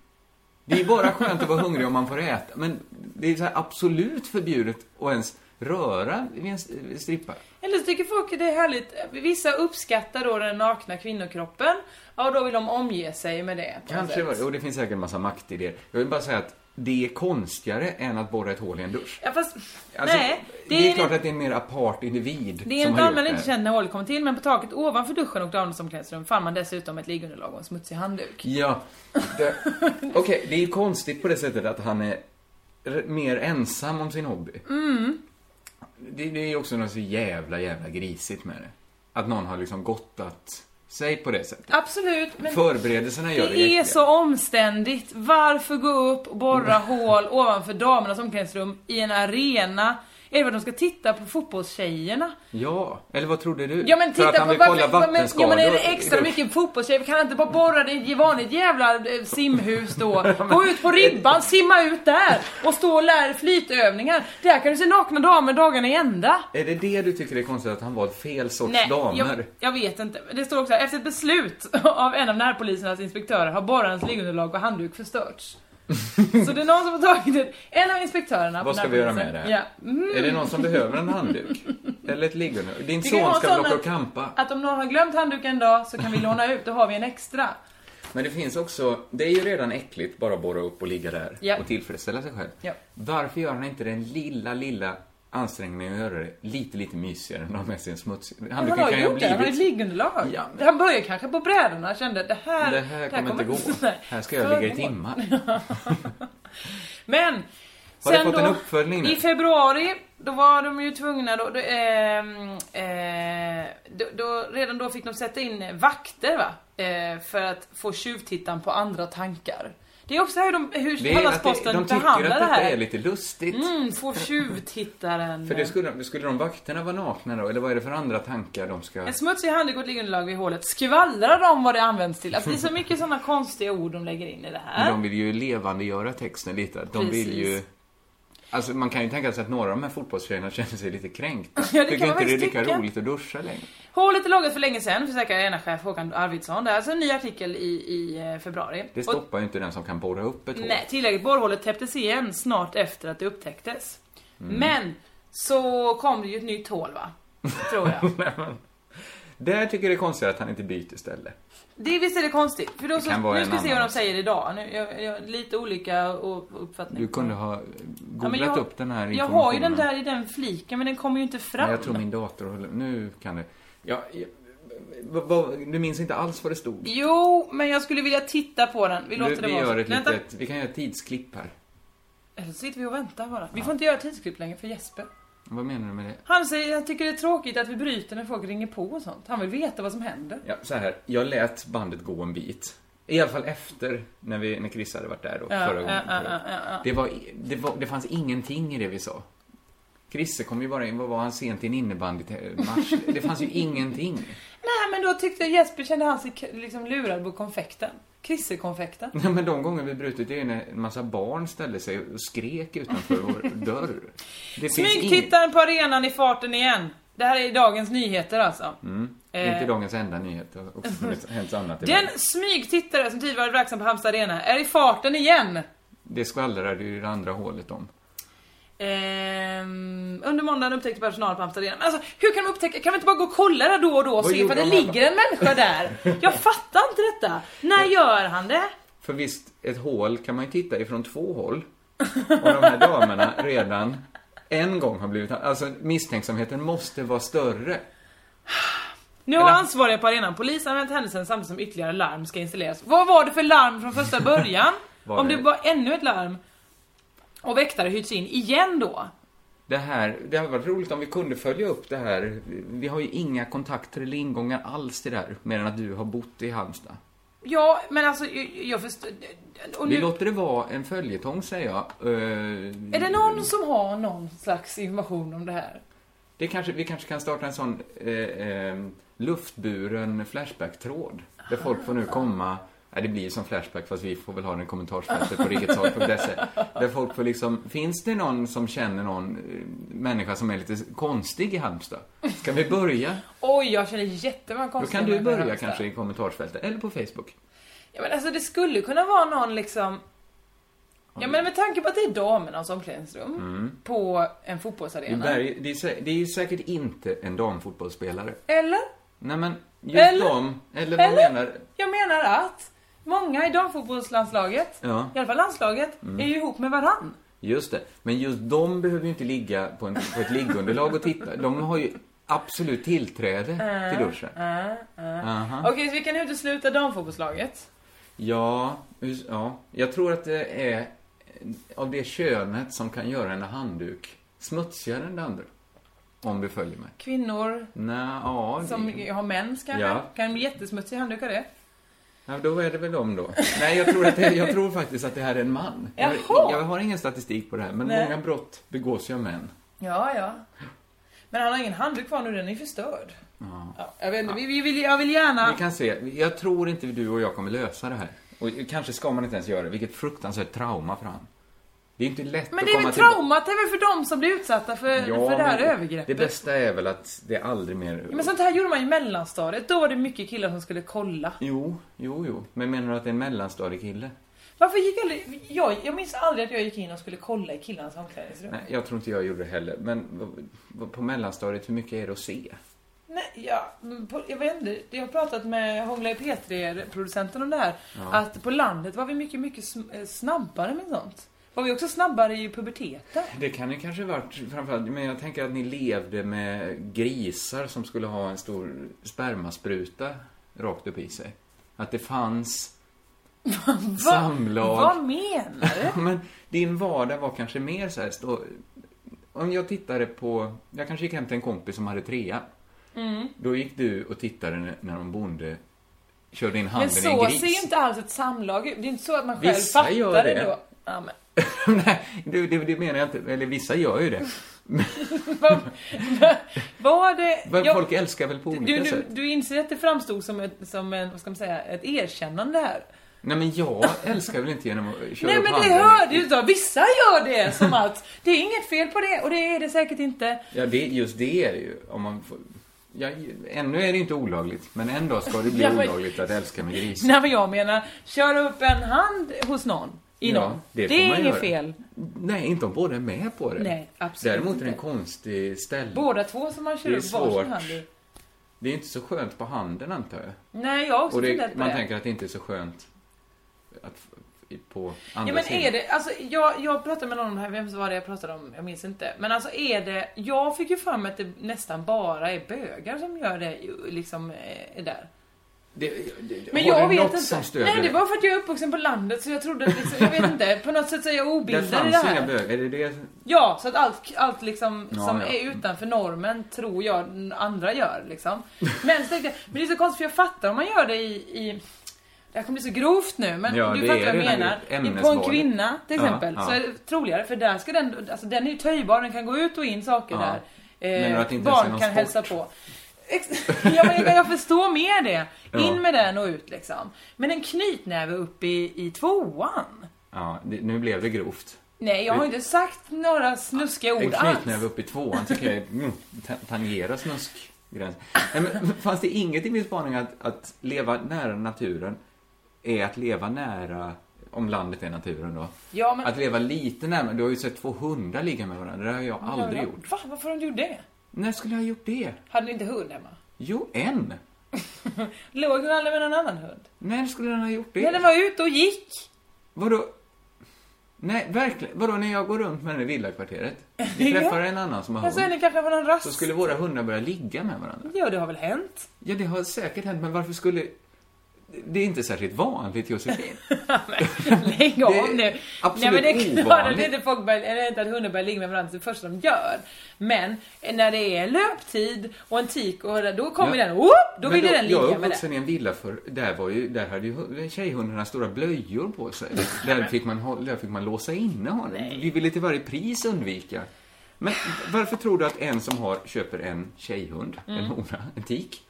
B: Det är bara skönt att vara hungrig om man får äta, men det är så här absolut förbjudet att ens röra vid en s- strippa.
G: Eller så tycker folk det är härligt. Vissa uppskattar då den nakna kvinnokroppen. Ja, och då vill de omge sig med det. på något
B: Kanske
G: sätt.
B: var det, och det finns säkert en massa maktidéer. Jag vill bara säga att det är konstigare än att borra ett hål i en dusch.
G: Ja, fast...
B: Alltså,
G: nej.
B: det, är klart att det är en mer apart individ
G: Det är
B: som
G: inte
B: har gjort
G: allmänt
B: det
G: inte
B: här.
G: känd när hålet kom till, men på taket ovanför duschen och damernas omklädningsrum fann man dessutom ett liggunderlag och en smutsig handduk.
B: Ja. det- Okej, det är ju konstigt på det sättet att han är r- mer ensam om sin hobby.
G: Mm.
B: Det, det är ju också något så jävla, jävla grisigt med det. Att någon har liksom gottat sig på det sättet.
G: Absolut, men
B: Förberedelserna gör det
G: det är
B: äckliga.
G: så omständigt.
B: Mm.
G: Varför gå upp och borra hål ovanför damernas omklädningsrum i en arena? Är det vad de ska titta på fotbollstjejerna?
B: Ja, eller vad trodde du?
G: Ja men
B: För
G: titta
B: att han
G: på
B: vill kolla
G: varför, men, ja,
B: vattenskador.
G: men är det extra mycket fotbollstjejer? Kan han inte bara borra det i vanligt jävla eh, simhus då? Gå ut på ribban, simma ut där och stå och lära dig flytövningar. Där kan du se nakna damer dagarna i ända.
B: Är det det du tycker är konstigt, att han valt fel sorts damer?
G: Jag, jag vet inte. Det står också här, efter ett beslut av en av närpolisernas inspektörer har borrarens liggunderlag och handduk förstörts. Så det är någon som har tagit det. En av inspektörerna
B: Vad
G: på
B: ska vi göra
G: närpolisen.
B: med det?
G: Ja. Mm.
B: Är det någon som behöver en handduk? Eller ett liggunderlag? Din
G: Vi kan
B: son
G: ha
B: ska väl
G: såna-
B: åka och campa?
G: Att om någon har glömt handduken en dag så kan vi låna ut, då har vi en extra.
B: Men det finns också, det är ju redan äckligt bara att borra upp och ligga där
G: Ja.
B: och tillfredsställa sig själv.
G: Ja.
B: Varför gör han inte den lilla, lilla ansträngningen att göra det lite, lite mysigare när han har med sig en smuts?
G: Han
B: Handduken
G: har
B: kan ju ha
G: gjort det, han har ett
B: blivit...
G: liggunderlag.
B: Ja, men-
G: Han börjar kanske på brädorna och kände det här,
B: Det här kommer inte gå.
G: Nej.
B: Här ska jag ligga i
G: Föremål.
B: timmar.
G: Men!
B: Har du fått en uppföljning nu?
G: I februari, då var de ju tvungna då, då, ehm, eh, då, då Redan då fick de sätta in vakter va? Eh, för att få tjuvtittaren på andra tankar. Det är också här de,
B: Det
G: hur
B: är att det,
G: Hallandsposten
B: de tycker att
G: behandlar det
B: detta
G: här.
B: är lite lustigt.
G: Mm, få tjuvtittaren.
B: För det skulle, skulle de vakterna vara nakna då? Eller vad är det för andra tankar de ska...
G: En smutsig handduk och ett liggunderlag vid hålet. Skvallrar de vad det används till? Alltså det är så mycket sådana konstiga ord de lägger in i det här.
B: Men de vill ju levandegöra texten lite. De vill ju...
G: Precis.
B: Alltså man kan ju tänka sig att några av de här fotbollstjejerna känner sig lite kränkta.
G: Ja, det
B: Tycker
G: kan man
B: inte det är
G: faktiskt
B: lika
G: tycka.
B: roligt att duscha längre.
G: Hålet är lagat för länge sedan, försäkrar Arena-chef Håkan Arvidsson. Det är alltså en ny artikel i, i eh, februari.
B: Det
G: Och-
B: stoppar ju inte den som kan borra upp ett hål.
G: Nej, tillägget borrhålet täpptes igen snart efter att det upptäcktes.
B: Mm.
G: Men så kom det ju ett nytt hål va? Tror jag.
B: Där tycker jag det är konstigt att han inte byter ställe.
G: Det visst är det konstigt? För då så,
B: kan vara
G: nu
B: en
G: ska vi se vad
B: annan
G: de säger idag. Nu, jag, jag, lite olika o- uppfattningar.
B: Du kunde ha
G: Ja,
B: googlat
G: men jag-
B: upp den här
G: Jag
B: informationen.
G: har ju den där i den fliken men den kommer ju inte fram.
B: Men jag tror min dator håller... Nu kan det... Ja, ja, vad- vad- du minns inte alls vad det stod?
G: Jo, men jag skulle vilja titta på den. Vi låter
B: Vi,
G: det
B: vi
G: vara
B: gör
G: så.
B: ett
G: Vänta.
B: litet... Vi kan göra ett tidsklipp här.
G: Eller så sitter vi och väntar bara. Vi får inte göra tidsklipp längre för Jesper.
B: Vad menar du med det?
G: Han säger han tycker det är tråkigt att vi bryter när folk ringer på och sånt. Han vill veta vad som händer.
B: Ja, så här. Jag lät bandet gå en bit. I alla fall efter, när, vi, när Chris hade varit där då,
G: Ja,
B: förra gången.
G: ja, ja, ja, ja.
B: Det, var, det, var, det fanns ingenting i det vi sa. Chrisse kom ju bara in, vad var han sent i en innebandymatch? Det fanns ju ingenting.
G: Nej men då tyckte Jesper kände han sig k- liksom lurad på konfekten. Krissekonfekten.
B: Nej, men de gånger vi brutit, det är ju när en massa barn ställde sig och skrek utanför vår dörr. Det finns ing-
G: Smygtittaren på arenan i farten igen. Det här är dagens nyheter alltså.
B: Mm.
G: Eh,
B: Inte dagens enda nyhet, det har också hänt annat. i
G: Den
B: världen.
G: smygtittare som tidigare varit verksam på Halmstad Arena är i farten igen.
B: Det skvallrade ju det andra hålet om.
G: Ehm, under måndagen upptäckte personal på Amsterdam. Alltså hur kan de upptäcka? Kan vi inte bara gå och kolla där då och då och
B: Vad
G: se
B: gjorde
G: ifall det
B: de här
G: ligger en människa där? Jag fattar inte detta. När gör han det?
B: För visst, ett hål kan man ju titta ifrån två håll. Och de här damerna redan en gång har blivit... Alltså misstänksamheten måste vara större.
G: Nu har
B: Eller-
G: ansvariga på arenan polis använt händelsen samtidigt som ytterligare larm ska installeras. Vad var det för larm från första början?
B: Var
G: Om
B: det-
G: det var ännu ett larm. Och väktare hyrts in igen då.
B: Det här, det hade varit roligt om vi kunde följa upp det här. Vi har ju inga kontakter eller ingångar alls till det här, mer än att du har bott i Halmstad.
G: Ja, men alltså jag, jag förstår... Och
B: Vi
G: nu,
B: låter det vara en följetong, säger jag. Eh,
G: Är det någon som har någon slags information om det här?
B: det kanske, vi kanske kan starta en sån eh, eh, luftburen Flashback-tråd. Där folk får nu komma... Nej, det blir som Flashback, fast vi får väl ha den i kommentarsfältet på riketshag.se. Där folk får liksom... Finns det någon som känner någon eh, människa som är lite konstig i Halmstad? Ska vi börja?
G: Oj, jag känner jättemånga
B: Då
G: konstiga
B: kan du
G: människor i
B: börja
G: Halmstad.
B: kanske i kommentarsfältet, eller på Facebook.
G: Ja, men alltså det skulle kunna vara någon liksom... Ja men med tanke på att det är damernas omklädningsrum
B: Mm.
G: på en
B: Det
G: fotbollsarena.
B: är, det, är, sä- det är ju säkert inte en damfotbollsspelare.
G: Eller?
B: Nej men, just
G: Eh. Eller?
B: dem, eller vad
G: Eller?
B: menar
G: Jag menar att många i damfotbollslandslaget,
B: Ja. Mm.
G: i alla fall landslaget, är ju ihop med varann.
B: Just det. Men just de behöver ju inte ligga på, en, på ett liggunderlag och titta. De har ju absolut tillträde
G: Äh,
B: till duschen. Aha.
G: Okej, så vi kan utesluta damfotbollslaget.
B: Ja, hur- ja, jag tror att det är eh, av det könet som kan göra en handduk smutsigare än det andra. Om du följer mig.
G: Kvinnor
B: Nä, ja,
G: som
B: det,
G: har mens kanske.
B: Ja.
G: Kan bli jättesmutsiga handdukar det.
B: ja, då är det väl de då. Nej, jag tror, att det, jag tror faktiskt att det här är en man. Jag,
G: Jaha.
B: jag har ingen statistik på det här, men
G: Nej.
B: många brott begås ju av män.
G: Ja, ja. Men han har ingen handduk kvar nu, den är ju förstörd.
B: Ja.
G: Ja, jag vet inte, vi, vi vill, jag vill gärna...
B: Vi kan se. Jag tror inte du och jag kommer lösa det här. Och kanske ska man inte ens göra det. Vilket fruktansvärt trauma för han. Det är inte lätt
G: Men
B: att
G: det är
B: komma
G: väl
B: tillbaka-
G: traumat, det är väl för dem som blir utsatta för, för det här
B: men
G: övergreppet.
B: Det bästa är väl att det aldrig mer...
G: Men sånt här gjorde man i mellanstadiet, då var det mycket killar som skulle kolla.
B: Jo, jo, jo. Men menar du att det är en mellanstadiekille?
G: Varför gick aldrig... Jag, jag minns aldrig att jag gick in och skulle kolla i killarnas omklädningsrum.
B: Nej, jag tror inte jag gjorde det heller. Men v- v- på mellanstadiet, hur mycket är det att se?
G: Nej, ja, mm, på, jag vet inte. Jag har pratat med Hångla i P3-producenten om det här. Att på landet var vi mycket, mycket sm- eh, snabbare med sånt. Var vi också snabbare i puberteten?
B: Det kan ju kanske varit framförallt, men jag tänker att ni levde med grisar som skulle ha en stor spermaspruta rakt upp i sig. Att det fanns samlag.
G: Vad menar du?
B: Men din vardag var kanske mer så här, stå, Om jag tittade på... Jag kanske gick hem till en kompis som hade trea.
G: Mm.
B: Då gick du och tittade när- när de bonde körde in
G: Men
B: handen i
G: så
B: en gris.
G: ser ju inte alls ett samlag ut. Det är inte så att man själv
B: Vissa
G: fattar
B: gör
G: det
B: det.
G: då. Ja, men,
B: Nej, det, det, det menar jag inte. Eller vissa gör ju det.
G: vad, var det...
B: Men
G: jag-
B: folk älskar väl på olika
G: du, du,
B: sätt.
G: du inser att det framstod som, ett, som en, vad ska man säga, ett erkännande här?
B: Nej, men jag älskar väl inte genom att köra
G: Nej
B: upp
G: men det
B: handen. i-
G: hörde ju då. Vissa gör det som att det är inget fel på det och det är det säkert inte.
B: Ja, det, just det är det ju. Om man får, ja, ännu är det inte olagligt, men en dag ska det bli
G: Ja, men-
B: olagligt att älska med grisar.
G: Nej men jag menar, kör upp en hand hos någon. I
B: Ja,
G: någon. Det,
B: det får man
G: är inget
B: göra.
G: fel.
B: Nej, inte om båda är med på det.
G: Nej, absolut
B: Däremot är det en
G: inte.
B: konstig ställning.
G: Båda två som man kör
B: Det är
G: upp varsin
B: svårt.
G: hand i.
B: Det är inte så skönt på handen, antar jag.
G: Nej jag har också
B: Och det,
G: funderat på
B: man
G: det.
B: tänker att det inte är så skönt att, f- i- på andra
G: Ja men
B: sidan.
G: är det, alltså jag, jag pratade med någon om det här, vem var det jag pratade om? Jag minns inte. Men alltså är det, jag fick ju för mig att det nästan bara är bögar som gör det liksom eh, är där.
B: Det- det-
G: Men
B: har
G: jag
B: du
G: vet
B: något
G: inte.
B: Som stöder
G: Nej det var för att jag är uppvuxen på landet så jag trodde att liksom, jag vet inte, på något sätt så är jag
B: det
G: obildad i det
B: fanns inga
G: här.
B: bögar. Är det det?
G: Ja, så att allt, allt liksom
B: Ja,
G: som
B: ja.
G: är utanför normen tror jag n- andra gör liksom. Men, så tänkte jag, men det är så konstigt för jag fattar om man gör det i, i det här kommer bli så grovt nu men
B: Ja,
G: du
B: det
G: fattar
B: är
G: vad jag
B: redan
G: menar.
B: grovt.
G: På en
B: Ämnesvalet.
G: kvinna till
B: Ja,
G: exempel
B: ja.
G: så är det troligare för där ska den, alltså den är ju töjbar, den kan gå ut och in saker
B: Ja.
G: där. Eh,
B: Menar du att det inte ens är
G: barn
B: någon
G: kan
B: sport?
G: hälsa på. Ex- ja, men jag, jag förstår mer det. In med den och ut liksom. Men en knytnäve upp i, i tvåan.
B: Ja, det, nu blev det grovt.
G: Nej, jag har inte sagt några snuskiga
B: En
G: ord
B: knytnäve
G: alls.
B: upp i tvåan tycker jag är- mm, ta- tangerar snuskgränsen. Nej, men fanns det inget i min spaning att, att leva nära naturen är att leva nära, om landet är naturen då,
G: Ja, men-
B: att leva lite närmare. Du har ju sett två hundar ligga med varandra, det har jag aldrig gjort.
G: Va? Varför har du gjort det?
B: När skulle jag ha gjort det?
G: Hade ni inte hund hemma?
B: Jo, en!
G: Låg hon aldrig med någon annan hund?
B: När skulle den ha gjort det?
G: När den var ute och gick.
B: Vadå? Nej, verkligen. Vadå, när jag går runt med den i villakvarteret, vi träffar en annan som har
G: Men så Alltså, är ni
B: hund,
G: kanske på någon rast.
B: så skulle våra hundar börja ligga med varandra.
G: Ja, det har väl hänt?
B: Ja, det har säkert hänt, men varför skulle... Det är inte särskilt vanligt, Josefin.
G: Lägg av
B: Det är
G: nu. Nej,
B: absolut
G: men det är klart att
B: ovanligt.
G: inte folk börjar, eller inte att hundar börjar ligga med varandra det första de gör. Men när det är löptid och en tik och då kommer
B: Ja.
G: den, whoop, då
B: Men
G: vill ju den
B: Jag
G: ligga
B: är
G: med
B: uppvuxen
G: det.
B: i en villa för där, var ju, där hade ju hu- tjejhundarna stora blöjor på sig. där, fick man, hå- där fick man låsa inne honom. Vi ville till varje pris undvika. Men varför tror du att en som har, köper en tjejhund, en
G: Mm.
B: hona, en tik,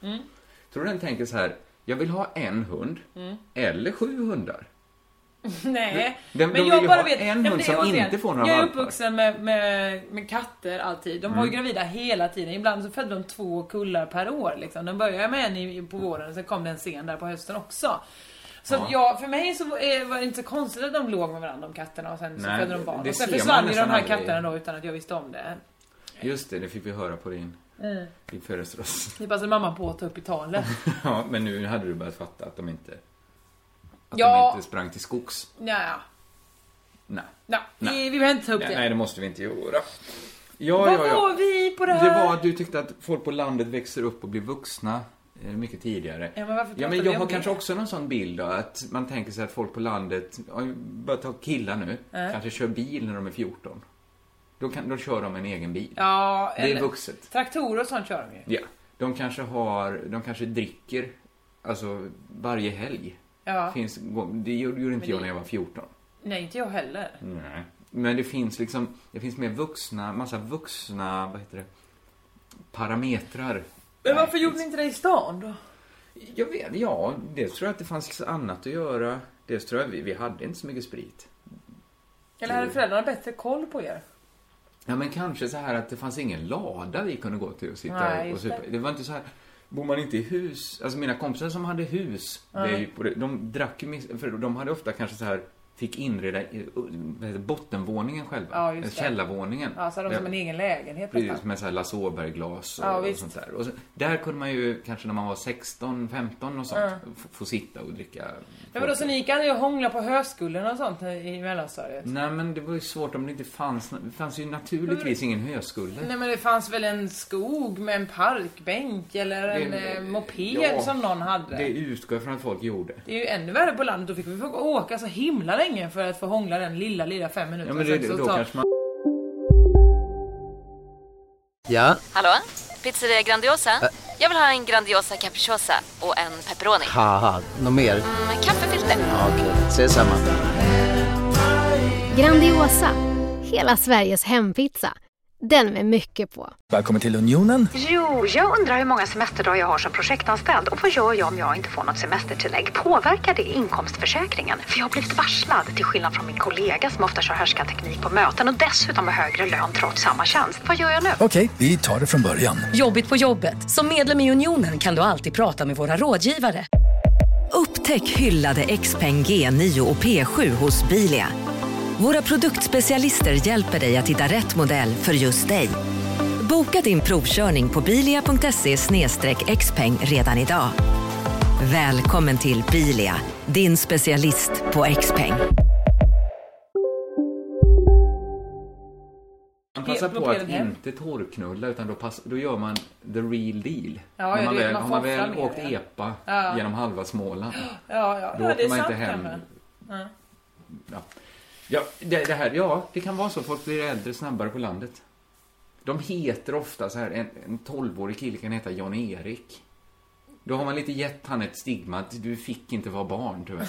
B: tror du den tänker så här, jag vill ha en hund,
G: Mm.
B: eller sju hundar?
G: Nej,
B: De- de
G: men
B: vill
G: jag
B: ju
G: bara
B: ha
G: vet.
B: en
G: ja, men
B: hund
G: det-
B: som
G: återigen,
B: inte får några
G: Jag är
B: valpar. Mm.
G: uppvuxen med, med, med katter alltid. De var ju gravida hela tiden. Ibland så födde de två kullar per år. Liksom. De började med en i- på våren och sen kom det en sen där på hösten också. Så att ja, för mig så är- var det inte så konstigt att de låg med varandra de katterna och sen så
B: Nej,
G: födde de
B: det-
G: barn.
B: det
G: Och sen
B: ser man
G: försvann ju de
B: nästan
G: här
B: aldrig.
G: katterna då utan att jag visste om det.
B: Just det, det fick vi höra på din,
G: Mm.
B: din födelsedags...
G: Det passade mamma på att ta upp i talet.
B: Ja, men nu hade du börjat fatta att de inte... Att
G: Ja.
B: de inte sprang till skogs.
G: Nja,
B: Nej.
G: nja,
B: Mm. Nej.
G: vi vi behöver inte ta upp
B: Nej,
G: det.
B: nej, det måste vi inte göra. Ja,
G: Vad
B: ja,
G: var
B: ja.
G: vi på det här?
B: Det var att du tyckte att folk på landet växer upp och blir vuxna eh, mycket tidigare.
G: Ja, men varför
B: ja,
G: pratar
B: men
G: vi
B: jag
G: om
B: har
G: det?
B: kanske också någon sån bild då, att man tänker sig att folk på landet, ja, bara ta killar nu,
G: Mm.
B: kanske kör bil när de är 14. Då, kan, då kör de en egen bil.
G: Ja,
B: det är
G: eller-
B: vuxet.
G: Traktorer och sånt kör de ju.
B: Ja. De kanske har, de kanske dricker, alltså varje helg.
G: Ja.
B: Finns, det gjorde gjorde inte jag när jag var 14.
G: Nej, inte jag heller.
B: Nej. Men det finns liksom, det finns mer vuxna, massa vuxna, vad heter det, parametrar.
G: Men varför gjorde ni inte det i stan då?
B: Jag vet, ja, dels tror jag att det fanns annat att göra. Dels tror jag vi, vi hade inte så mycket sprit.
G: Eller
B: Mm.
G: hade föräldrarna bättre koll på er?
B: Ja, men kanske så här att det fanns ingen lada vi kunde gå till och sitta
G: Nej,
B: och
G: just
B: supa. Det var inte så här, bor man inte i hus, alltså mina kompisar som hade hus, det är ju på det, de drack ju, miss- för de hade ofta kanske så här, fick inreda eh, vad heter det, bottenvåningen själva,
G: Ja, just det.
B: källarvåningen.
G: Ja, så Alltså, hade de
B: Där-
G: som en egen lägenhet
B: Precis,
G: nästan.
B: med så här Lasse Åberg-glas och,
G: Ja,
B: och
G: visst.
B: sånt där. Och så, där kunde man ju kanske när man var 16, 15 och sånt, f- få sitta och dricka.
G: Ja, men då så ni gick aldrig och hånglade på höskullen och sånt i mellanstadiet?
B: Nej, men det var ju svårt om det inte fanns, det fanns ju naturligtvis ingen höskulde.
G: Nej men det fanns väl en skog med en parkbänk eller en
B: Det-
G: eh, moped
B: ja,
G: som någon hade.
B: Det
G: Det...
B: utgår jag från att folk gjorde.
G: är ju ännu värre på landet, då fick vi få åka så himla länge för att få hångla den lilla, lilla fem minuter.
B: Ja, men det,
G: Sen så
B: då
G: sa-
B: kanske man...
H: Ja,
I: Hallå? Pizzeria Grandiosa? Jag vill ha en Grandiosa capriciosa och en pepperoni.
H: haha, något mer?
I: Med kaffefilter.
H: Ja, Okej, ses samma.
J: Grandiosa, hela Sveriges hempizza. Den med mycket på.
K: Välkommen till Unionen.
L: Jo, jag undrar hur många semesterdagar jag har som projektanställd och vad gör jag om jag inte får något semestertillägg? Påverkar det inkomstförsäkringen? För jag har blivit varslad, till skillnad från min kollega som ofta kör härskarteknik på möten och dessutom har högre lön trots samma tjänst. Vad gör jag nu?
K: Okej, vi tar det från början.
L: Jobbigt på jobbet. Som medlem i Unionen kan du alltid prata med våra rådgivare.
D: Upptäck hyllade XPeng G9 och P7 hos Bilia. Våra produktspecialister hjälper dig att hitta rätt modell för just dig. Boka din provkörning på bilia.se xpeng redan idag. Välkommen till Bilia, din specialist på XPeng.
B: Man passar
G: Helt
B: på att
G: blockerad hem.
B: inte torrknulla, utan då, pass, då gör man the real deal.
G: ja,
B: när man
G: det-
B: väl,
G: man får
B: har man
G: offra
B: väl
G: mer,
B: åkt
G: ja.
B: epa
G: Ja.
B: genom halva Småland,
G: Ja, ja,
B: då
G: ja det
B: åker
G: är
B: man
G: sant
B: inte hem.
G: kanske.
B: Ja, ja det, det här, ja, det kan vara så. Folk blir äldre snabbare på landet. De heter ofta så här, en, en 12-årig kille kan heta Jan-Erik. Då har man lite gett han ett stigma att du fick inte vara barn, tyvärr.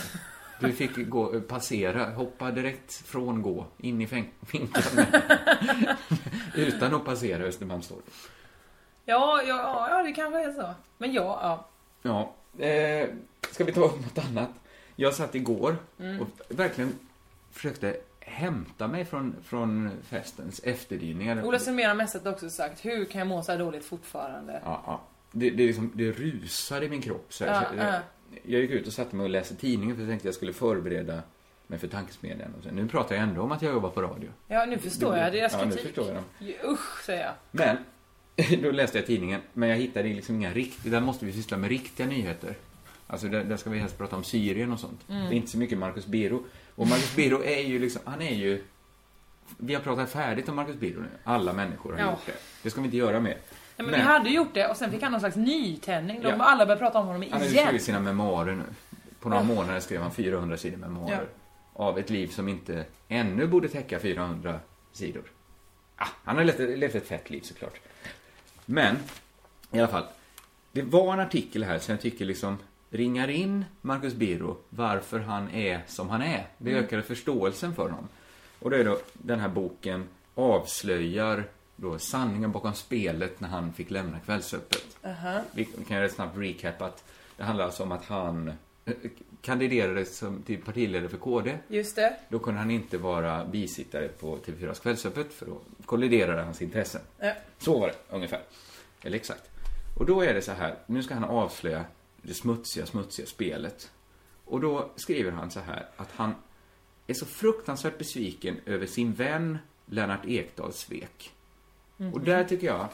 B: Du fick gå, passera, hoppa direkt från gå, in i fäng- finkan. Utan att passera Östermalmstorg.
G: Ja, ja, ja, det kanske är så. Men ja, ja.
B: Ja, eh, ska vi ta upp något annat? Jag satt igår
G: Mm.
B: och verkligen försökte hämta mig från, från festens efterdyningar.
G: Ola Sumera Messet har också sagt, hur kan jag må så här dåligt fortfarande?
B: Ja, ja. Det, det, är liksom, det rusar i min kropp. Så här.
G: Ja,
B: så jag,
G: ja.
B: jag gick ut och satte mig och läste tidningen för jag tänkte jag skulle förbereda mig för tankesmedjan. Och sen, nu pratar jag ändå om att jag jobbar på radio.
G: Ja, nu förstår
B: blir-
G: jag deras
B: ja, nu
G: kritik.
B: förstår jag dem.
G: Usch, säger jag.
B: Men, då läste jag tidningen, men jag hittade liksom inga riktiga, där måste vi syssla med riktiga nyheter. Alltså där, där ska vi helst prata om Syrien och sånt.
G: Mm.
B: Det är inte så mycket Marcus Biro. Och Marcus Biro är ju liksom, han är ju... Vi har pratat färdigt om Marcus Biro nu. Alla människor har
G: Ja.
B: gjort det. Det ska vi inte göra mer.
G: Ja, men vi hade gjort det och sen fick han någon slags nytändning. De
B: Ja.
G: alla började prata om honom
B: Han har ju
G: igen.
B: skrivit sina memoarer nu. På några månader skrev han 400 sidor memoarer. Av ett liv som inte ännu borde täcka 400 sidor. Ah, han har levt, levt ett fett liv såklart. Men, i alla fall. Det var en artikel här som jag tycker liksom ringar in Marcus Biro varför han är som han är. Det ökade förståelsen för honom. Och det är då den här boken avslöjar då sanningen bakom spelet när han fick lämna Kvällsöppet. Vi kan göra ett snabbt recap att det handlar alltså om att han eh, kandiderade som, till partiledare för KD.
G: Just det.
B: Då kunde han inte vara bisittare på TV4s Kvällsöppet för då kolliderade hans intressen.
G: Ja.
B: Så var det ungefär. Eller exakt. Och då är det så här, nu ska han avslöja det smutsiga, smutsiga spelet. Och då skriver han så här att han är så fruktansvärt besviken över sin vän Lennart Ekdals svek. Och där tycker jag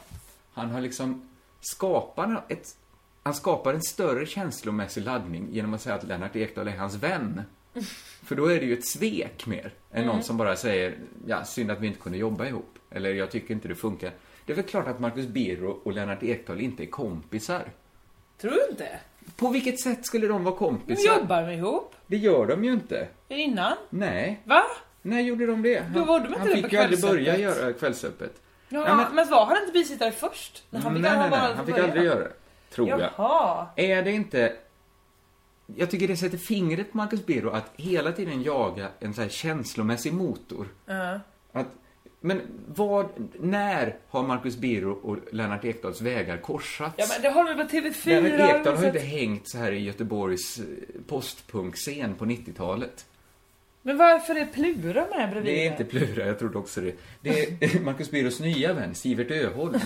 B: han har liksom skapat ett han skapar en större känslomässig laddning genom att säga att Lennart Ekdal är hans vän. För då är det ju ett svek mer än
G: Mm.
B: någon som bara säger ja, synd att vi inte kunde jobba ihop. Eller jag tycker inte det funkar. Det är väl klart att Marcus Biro och Lennart Ekdal inte är kompisar.
G: Tror du inte?
B: På vilket sätt skulle de vara
G: De
B: kompisar?
G: jobbar med ihop.
B: Det gör de ju inte.
G: Innan.
B: Nej.
G: Va?
B: När gjorde de det?
G: Då var de inte
B: han
G: det
B: fick
G: på
B: ju aldrig börja
G: Kvällsöppet.
B: göra Kvällsöppet.
G: Ja,
B: Nej, men-
G: men... var han inte bisittare först? Nej,
B: nej, nej, nej. Han fick aldrig göra det. Tror jag.
G: Jaha.
B: Är det inte jag tycker det sätter fingret på Marcus Birro att hela tiden jaga en så här känslomässig motor.
G: Ja.
B: Att, men vad, när har Marcus Birro och Lennart Ekdals vägar korsats?
G: Ja men det har väl på TV4?
B: Lennart Ekdal har
G: så
B: ju
G: att-
B: inte hängt så här i Göteborgs eh, postpunkscen på 90-talet.
G: Men varför är Plura med bredvid?
B: Det är inte Plura, jag trodde också det. Det är Marcus Birros nya vän, Sivert Öholm.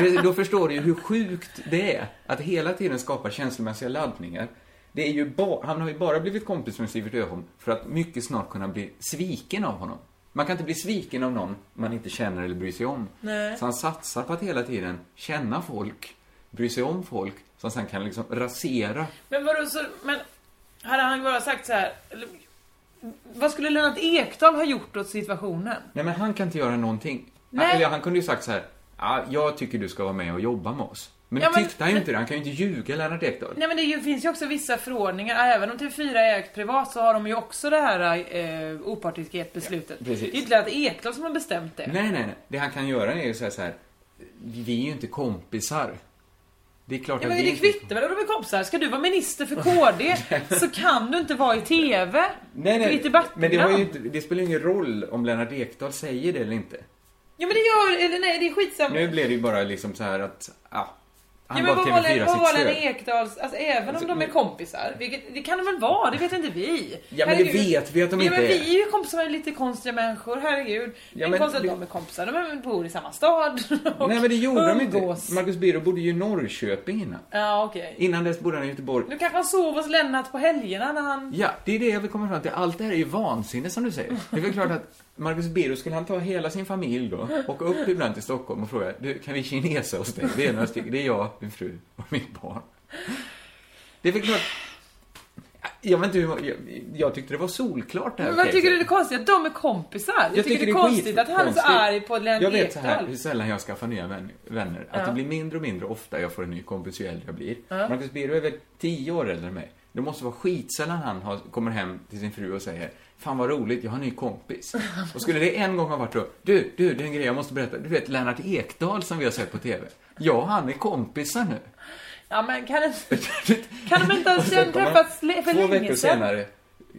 B: Det- Då förstår du ju hur sjukt det är att hela tiden skapa känslomässiga laddningar. Det är ju ba- han har ju bara blivit kompis med Sivert Öholm för att mycket snart kunna bli sviken av honom. Man kan inte bli sviken av någon man inte känner eller bryr sig om.
G: Nej.
B: Så han satsar på att hela tiden känna folk, bry sig om folk, som sen kan liksom rasera.
G: Men vadå så, men hade han bara sagt så här. eller- Vad skulle Lennart Ekdal ha gjort åt situationen?
B: Nej, men han kan inte göra någonting.
G: Nej.
B: Eller han kunde ju sagt så här, "Ja, jag tycker du ska vara med och jobba med oss. Men
G: Ja,
B: det
G: men-
B: tyckte han ju inte det. Han kan ju inte ljuga, Lennart Ekdal.
G: Nej men det är ju- finns ju också vissa förordningar, även om TV4 är ägt privat så har de ju också det här eh, opartiskhetsbeslutet.
B: Ja,
G: det är
B: precis.
G: ju inte Lennart Ekdal som har bestämt det.
B: Nej, nej, nej. Det han kan göra är ju så här, så här vi är ju inte kompisar. Det är klart
G: Ja,
B: att
G: men det
B: vi inte...
G: kvittar väl om de är kompisar? Ska du vara minister för KD så kan du inte vara i TV.
B: Nej,
G: För ditt
B: nej.
G: debattprogram.
B: Men det, har ju inte, det spelar ju ingen roll om Lennart Ekdal säger det eller inte.
G: Ja men det gör, eller nej det är skitsamma.
B: Nu blev det ju bara liksom så här att, ja.
G: ja,
B: Han
G: men
B: gav
G: vad var
B: TV4
G: Len- vad var
B: sitt
G: Lennart
B: stöd.
G: Ekdals, alltså även
B: Alltså,
G: om de är
B: nu-
G: kompisar, vilket, det kan de väl vara, det vet inte vi.
B: Ja, men det vet vi att de
G: ja,
B: inte
G: men
B: är.
G: vi är ju kompisar med lite konstiga människor, herregud. det är
B: men
G: konstigt
B: det-
G: att de är kompisar, de är- bor i samma stad. och
B: Nej, men det gjorde de inte.
G: umgås.
B: Marcus Birro bodde ju i Norrköping innan.
G: Ja okej.
B: Innan dess bodde han i Göteborg.
G: Nu kanske han sov hos Lennart på helgerna när han...
B: Ja, det är det jag vill komma fram till. Allt det här är ju vansinne som du säger. Det är väl klart att Marcus Birro, skulle han ta hela sin familj då, åka upp ibland till Stockholm och fråga, du, kan vi kinesa hos dig? Det är några stycken, det är jag, min fru och mitt barn. Det är väl klart, jag vet inte hur, jag, jag tyckte det var solklart det här
G: Men vad
B: caset.
G: tycker du det är konstigt? Att de är kompisar? Jag, tycker, det är
B: skitkonstigt.
G: konstigt att han är så arg på Lennart
B: Jag vet så här,
G: Ekdal.
B: hur sällan jag skaffar nya vän- vänner. Att
G: Ja.
B: det blir mindre och mindre ofta jag får en ny kompis ju äldre jag blir.
G: Ja.
B: Marcus Birro är väl tio år äldre än mig. Det måste vara skitsällan han har, kommer hem till sin fru och säger Fan vad roligt, jag har en ny kompis. Och skulle det en gång ha varit då, du, du, det är en grej jag måste berätta. Du vet Lennart Ekdal som vi har sett på TV. Jag och han är kompisar nu.
G: Ja men kan, kan de inte ha
B: Och sen kommer
G: träffats
B: han
G: le- för
B: Två
G: länge
B: veckor
G: sedan?
B: senare.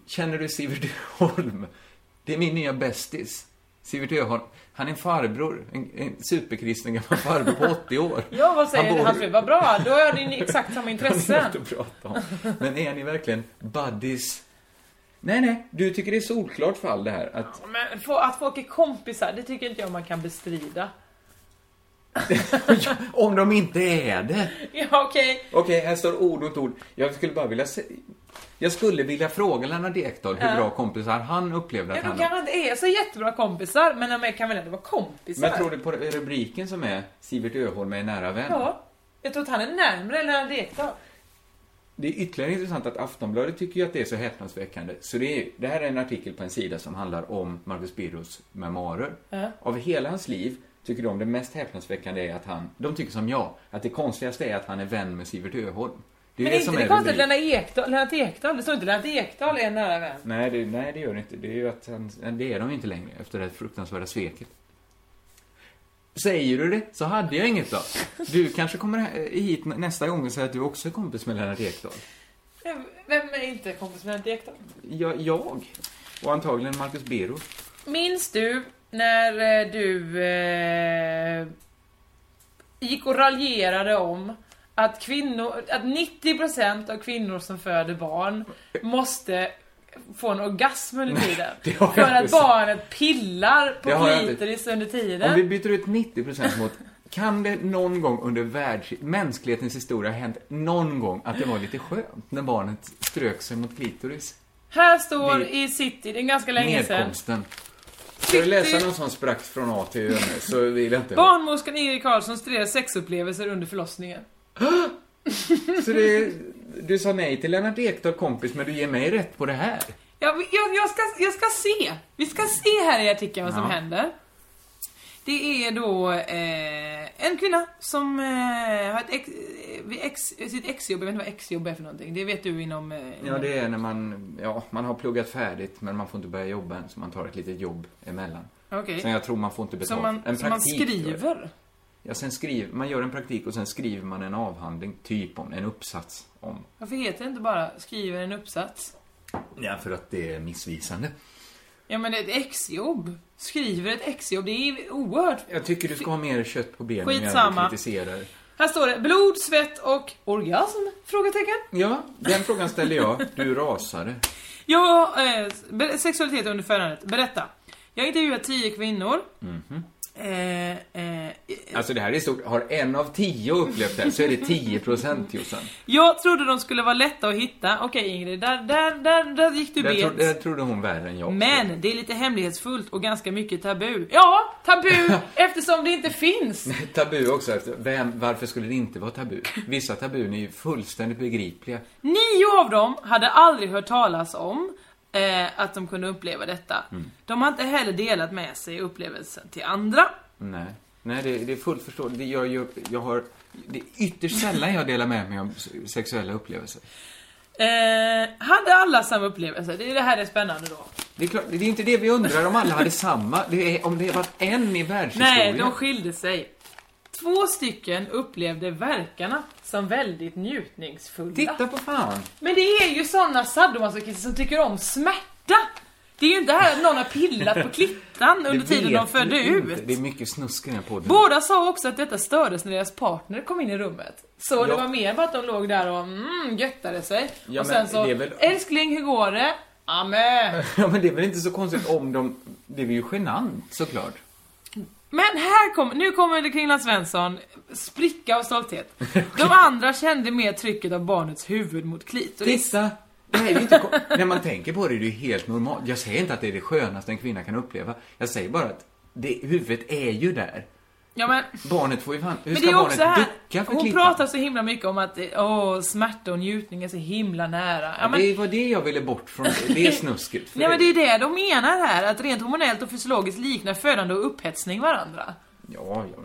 B: Känner du Sivert Öholm? Det är min nya bästis. Sivert Öholm. Han är en farbror. En, en superkristen gammal farbror på 80 år.
G: Ja vad
B: Han
G: säger
B: bor-
G: han hans fru? Vad bra, då har ni exakt samma
B: Han
G: intressen.
B: är något att prata om. Men är ni verkligen buddies? Nej, nej. Du tycker det är solklart fall det här. Att,
G: Men få- att folk är kompisar, det tycker inte jag man kan bestrida.
B: om de inte är det.
G: Ja okej.
B: Okej, här står ord mot ord. Jag skulle bara vilja se... Jag skulle vilja fråga Lennart Ekdal hur
G: Ja.
B: bra kompisar han upplevde
G: Ja,
B: att
G: de
B: han
G: kanske inte är så jättebra kompisar, men de är- kan väl ändå vara kompisar?
B: Men tror du på rubriken som är Sivert Öholm är en nära vän?
G: Ja. Jag tror att han är närmare Lennart Ekdal.
B: Det är ytterligare intressant att Aftonbladet tycker ju att det är så häpnadsväckande. Så det, är, det här är en artikel på en sida som handlar om Marcus Birros memoarer.
G: Ja.
B: Av hela hans liv tycker de det mest häpnadsväckande är att han, de tycker som jag, att det konstigaste är att han är vän med Sivert Öholm. Det är
G: Men
B: det
G: är inte
B: som
G: det
B: är
G: konstigt att
B: rubriken.
G: Lennart Ekdal, Lennart Ekdal, det står inte Lennart Ekdal är en nära vän.
B: Nej det, nej, det gör det inte. Det är ju att han, det är de ju inte längre efter det här fruktansvärda sveket. Säger du det så hade jag inget då. Du kanske kommer hit nästa gång och säger att du också är kompis med Lennart Ekdal.
G: Vem- Vem är inte kompis med Lennart Ekdal?
B: Jag, jag och antagligen Marcus Bero.
G: Minns du när eh, du eh, gick och raljerade om att kvinnor, att 90% av kvinnor som föder barn måste få en orgasm under tiden.
B: det har jag
G: för
B: inte
G: att
B: sagt.
G: barnet pillar
B: Det har jag
G: på
B: inte.
G: klitoris under
B: Om vi
G: tiden.
B: byter ut 90% mot kan det någon gång under världs, mänsklighetens historia ha hänt någon gång att det var lite skönt när barnet strök sig mot klitoris?
G: Här står
B: Vi-
G: i city, det är ganska länge sedan.
B: Nedkomsten. Ska du läsa någon som sprack från A till Ö nu så vill jag inte
G: Barnmorskan Ingrid Carlsson studerar sexupplevelser under förlossningen.
B: Så det, du sa nej till Lennart Ekdal kompis, men du ger mig rätt på det här.
G: Jag, jag, jag, ska, jag ska se. Vi ska se här i artikeln vad som
B: Ja.
G: händer. Det är då eh, en kvinna som eh, har ett ex, eh, vid ex, sitt exjobb, jag vet inte vad exjobb är för någonting. Det vet du inom... Eh,
B: Ja, det är när man, ja, man har pluggat färdigt, men man får inte börja jobba än, så man tar ett litet jobb emellan.
G: Okej.
B: Sen jag tror man får inte
G: Som
B: betalt.
G: man, som man
B: praktik, tror jag.
G: skriver.
B: Ja, sen skriver, man gör en praktik och sen skriver man en avhandling, typ om, en uppsats om.
G: Varför heter det inte bara skriver en uppsats?
B: Ja, för att det är missvisande.
G: Ja men det är ett exjobb. Skriver ett exjobb, det är oerhört...
B: Jag tycker du ska ha mer kött på benen
G: Skitsamma.
B: när du kritiserar.
G: Här står det blod, svett och orgasm? Frågetecken.
B: Ja, den frågan ställer jag. Du rasade.
G: Ja, eh, be- sexualitet under födandet. Berätta. Jag har intervjuat tio kvinnor.
B: Mhm.
G: Eh, eh,
B: Alltså det här är stort. Har en av tio upplevt det här så är det 10 procent Jossan.
G: jag trodde de skulle vara lätta att hitta. Okej Ingrid, där, där, där, där gick du
B: Det
G: bet.
B: tro, där trodde hon värre än jag.
G: Men det är lite hemlighetsfullt och ganska mycket tabu. Ja, tabu eftersom det inte finns.
B: Tabu också. alltså. Vem, varför skulle det inte vara tabu? Vissa tabun är ju fullständigt begripliga.
G: Nio av dem hade aldrig hört talas om eh, att de kunde uppleva detta.
B: Mm.
G: De har inte heller delat med sig upplevelsen till andra.
B: Nej, Nej det, det är fullt förståeligt. Det, jag, jag, jag har, det är ytterst sällan jag delar med mig av s- sexuella upplevelser.
G: Eh, hade alla samma upplevelse? Det, är det här är spännande då.
B: Det är, klart, det är inte det vi undrar om alla hade samma. Det är, om det var en i
G: Nej,
B: världshistorien.
G: de skilde sig. Två stycken upplevde verkarna som väldigt njutningsfulla.
B: Titta på fan!
G: Men det är ju såna sadomasochister som tycker om smärta! Det är ju inte det här att någon har pillat på klittan
B: Det
G: under tiden de
B: vet
G: födde
B: vi inte.
G: ut.
B: Det är mycket snusk i den här podden.
G: Båda sa också att detta stördes när deras partner kom in i rummet. Så det
B: Ja.
G: var mer bara att de låg där och mm, göttade sig.
B: Ja,
G: och sen
B: men
G: så,
B: det är väl-
G: älskling hur går det? Amen.
B: Ja, men det är väl inte så konstigt om de... Det är ju genant, såklart.
G: Men här kommer, nu kommer det Kringlan Svensson spricka av stolthet. De andra kände mer trycket av barnets huvud mot klit. Och det-
B: Titta! Det här är ju inte kon- När man tänker på det är det ju helt normalt. Jag säger inte att det är det skönaste en kvinna kan uppleva. Jag säger bara att det, huvudet är ju där.
G: Ja, men,
B: Barnet får ju fan... Hur
G: men
B: ska
G: det är
B: barnet
G: också här,
B: ducka för
G: hon
B: klittan?
G: pratar så himla mycket om att eh, åh, smärta och njutning är så himla nära. Ja, men,
B: Det var det jag ville bort från. Det är snusket. För
G: nej men det är det de menar här, att rent hormonellt och fysiologiskt liknar födande och upphetsning varandra.
B: Ja, ja.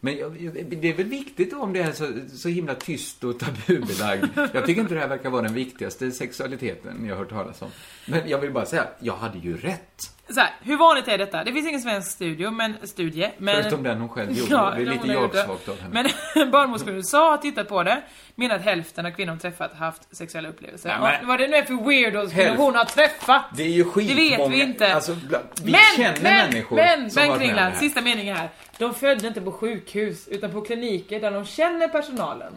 B: Men jag, jag- det är väl viktigt om det är så, så himla tyst och tabubelagd. Jag tycker inte det här verkar vara den viktigaste sexualiteten jag har hört talas om. Men jag vill bara säga, jag hade ju rätt.
G: Så här, hur vanligt är detta? Det finns ingen svensk studio, men, studie, men...
B: Förutom den hon själv gjorde. det är
G: den
B: lite
G: hon har gjort det.
B: jag-svagt av henne.
G: Men Barnmorskan i USA har tittat på det, menar att hälften av kvinnor hon träffat haft sexuella upplevelser.
B: Nej, men-
G: Och vad det nu är för weirdos kvinnor
B: Hälft-
G: hon har träffat!
B: Det är ju skitmånga.
G: Det vet vi inte.
B: Alltså, bland- vi
G: men,
B: känner
G: men,
B: människor
G: men,
B: som
G: men
B: varit med om det
G: Kringland,
B: här.
G: sista meningen här. De födde inte på sjukhus, utan på kliniker där de känner personalen.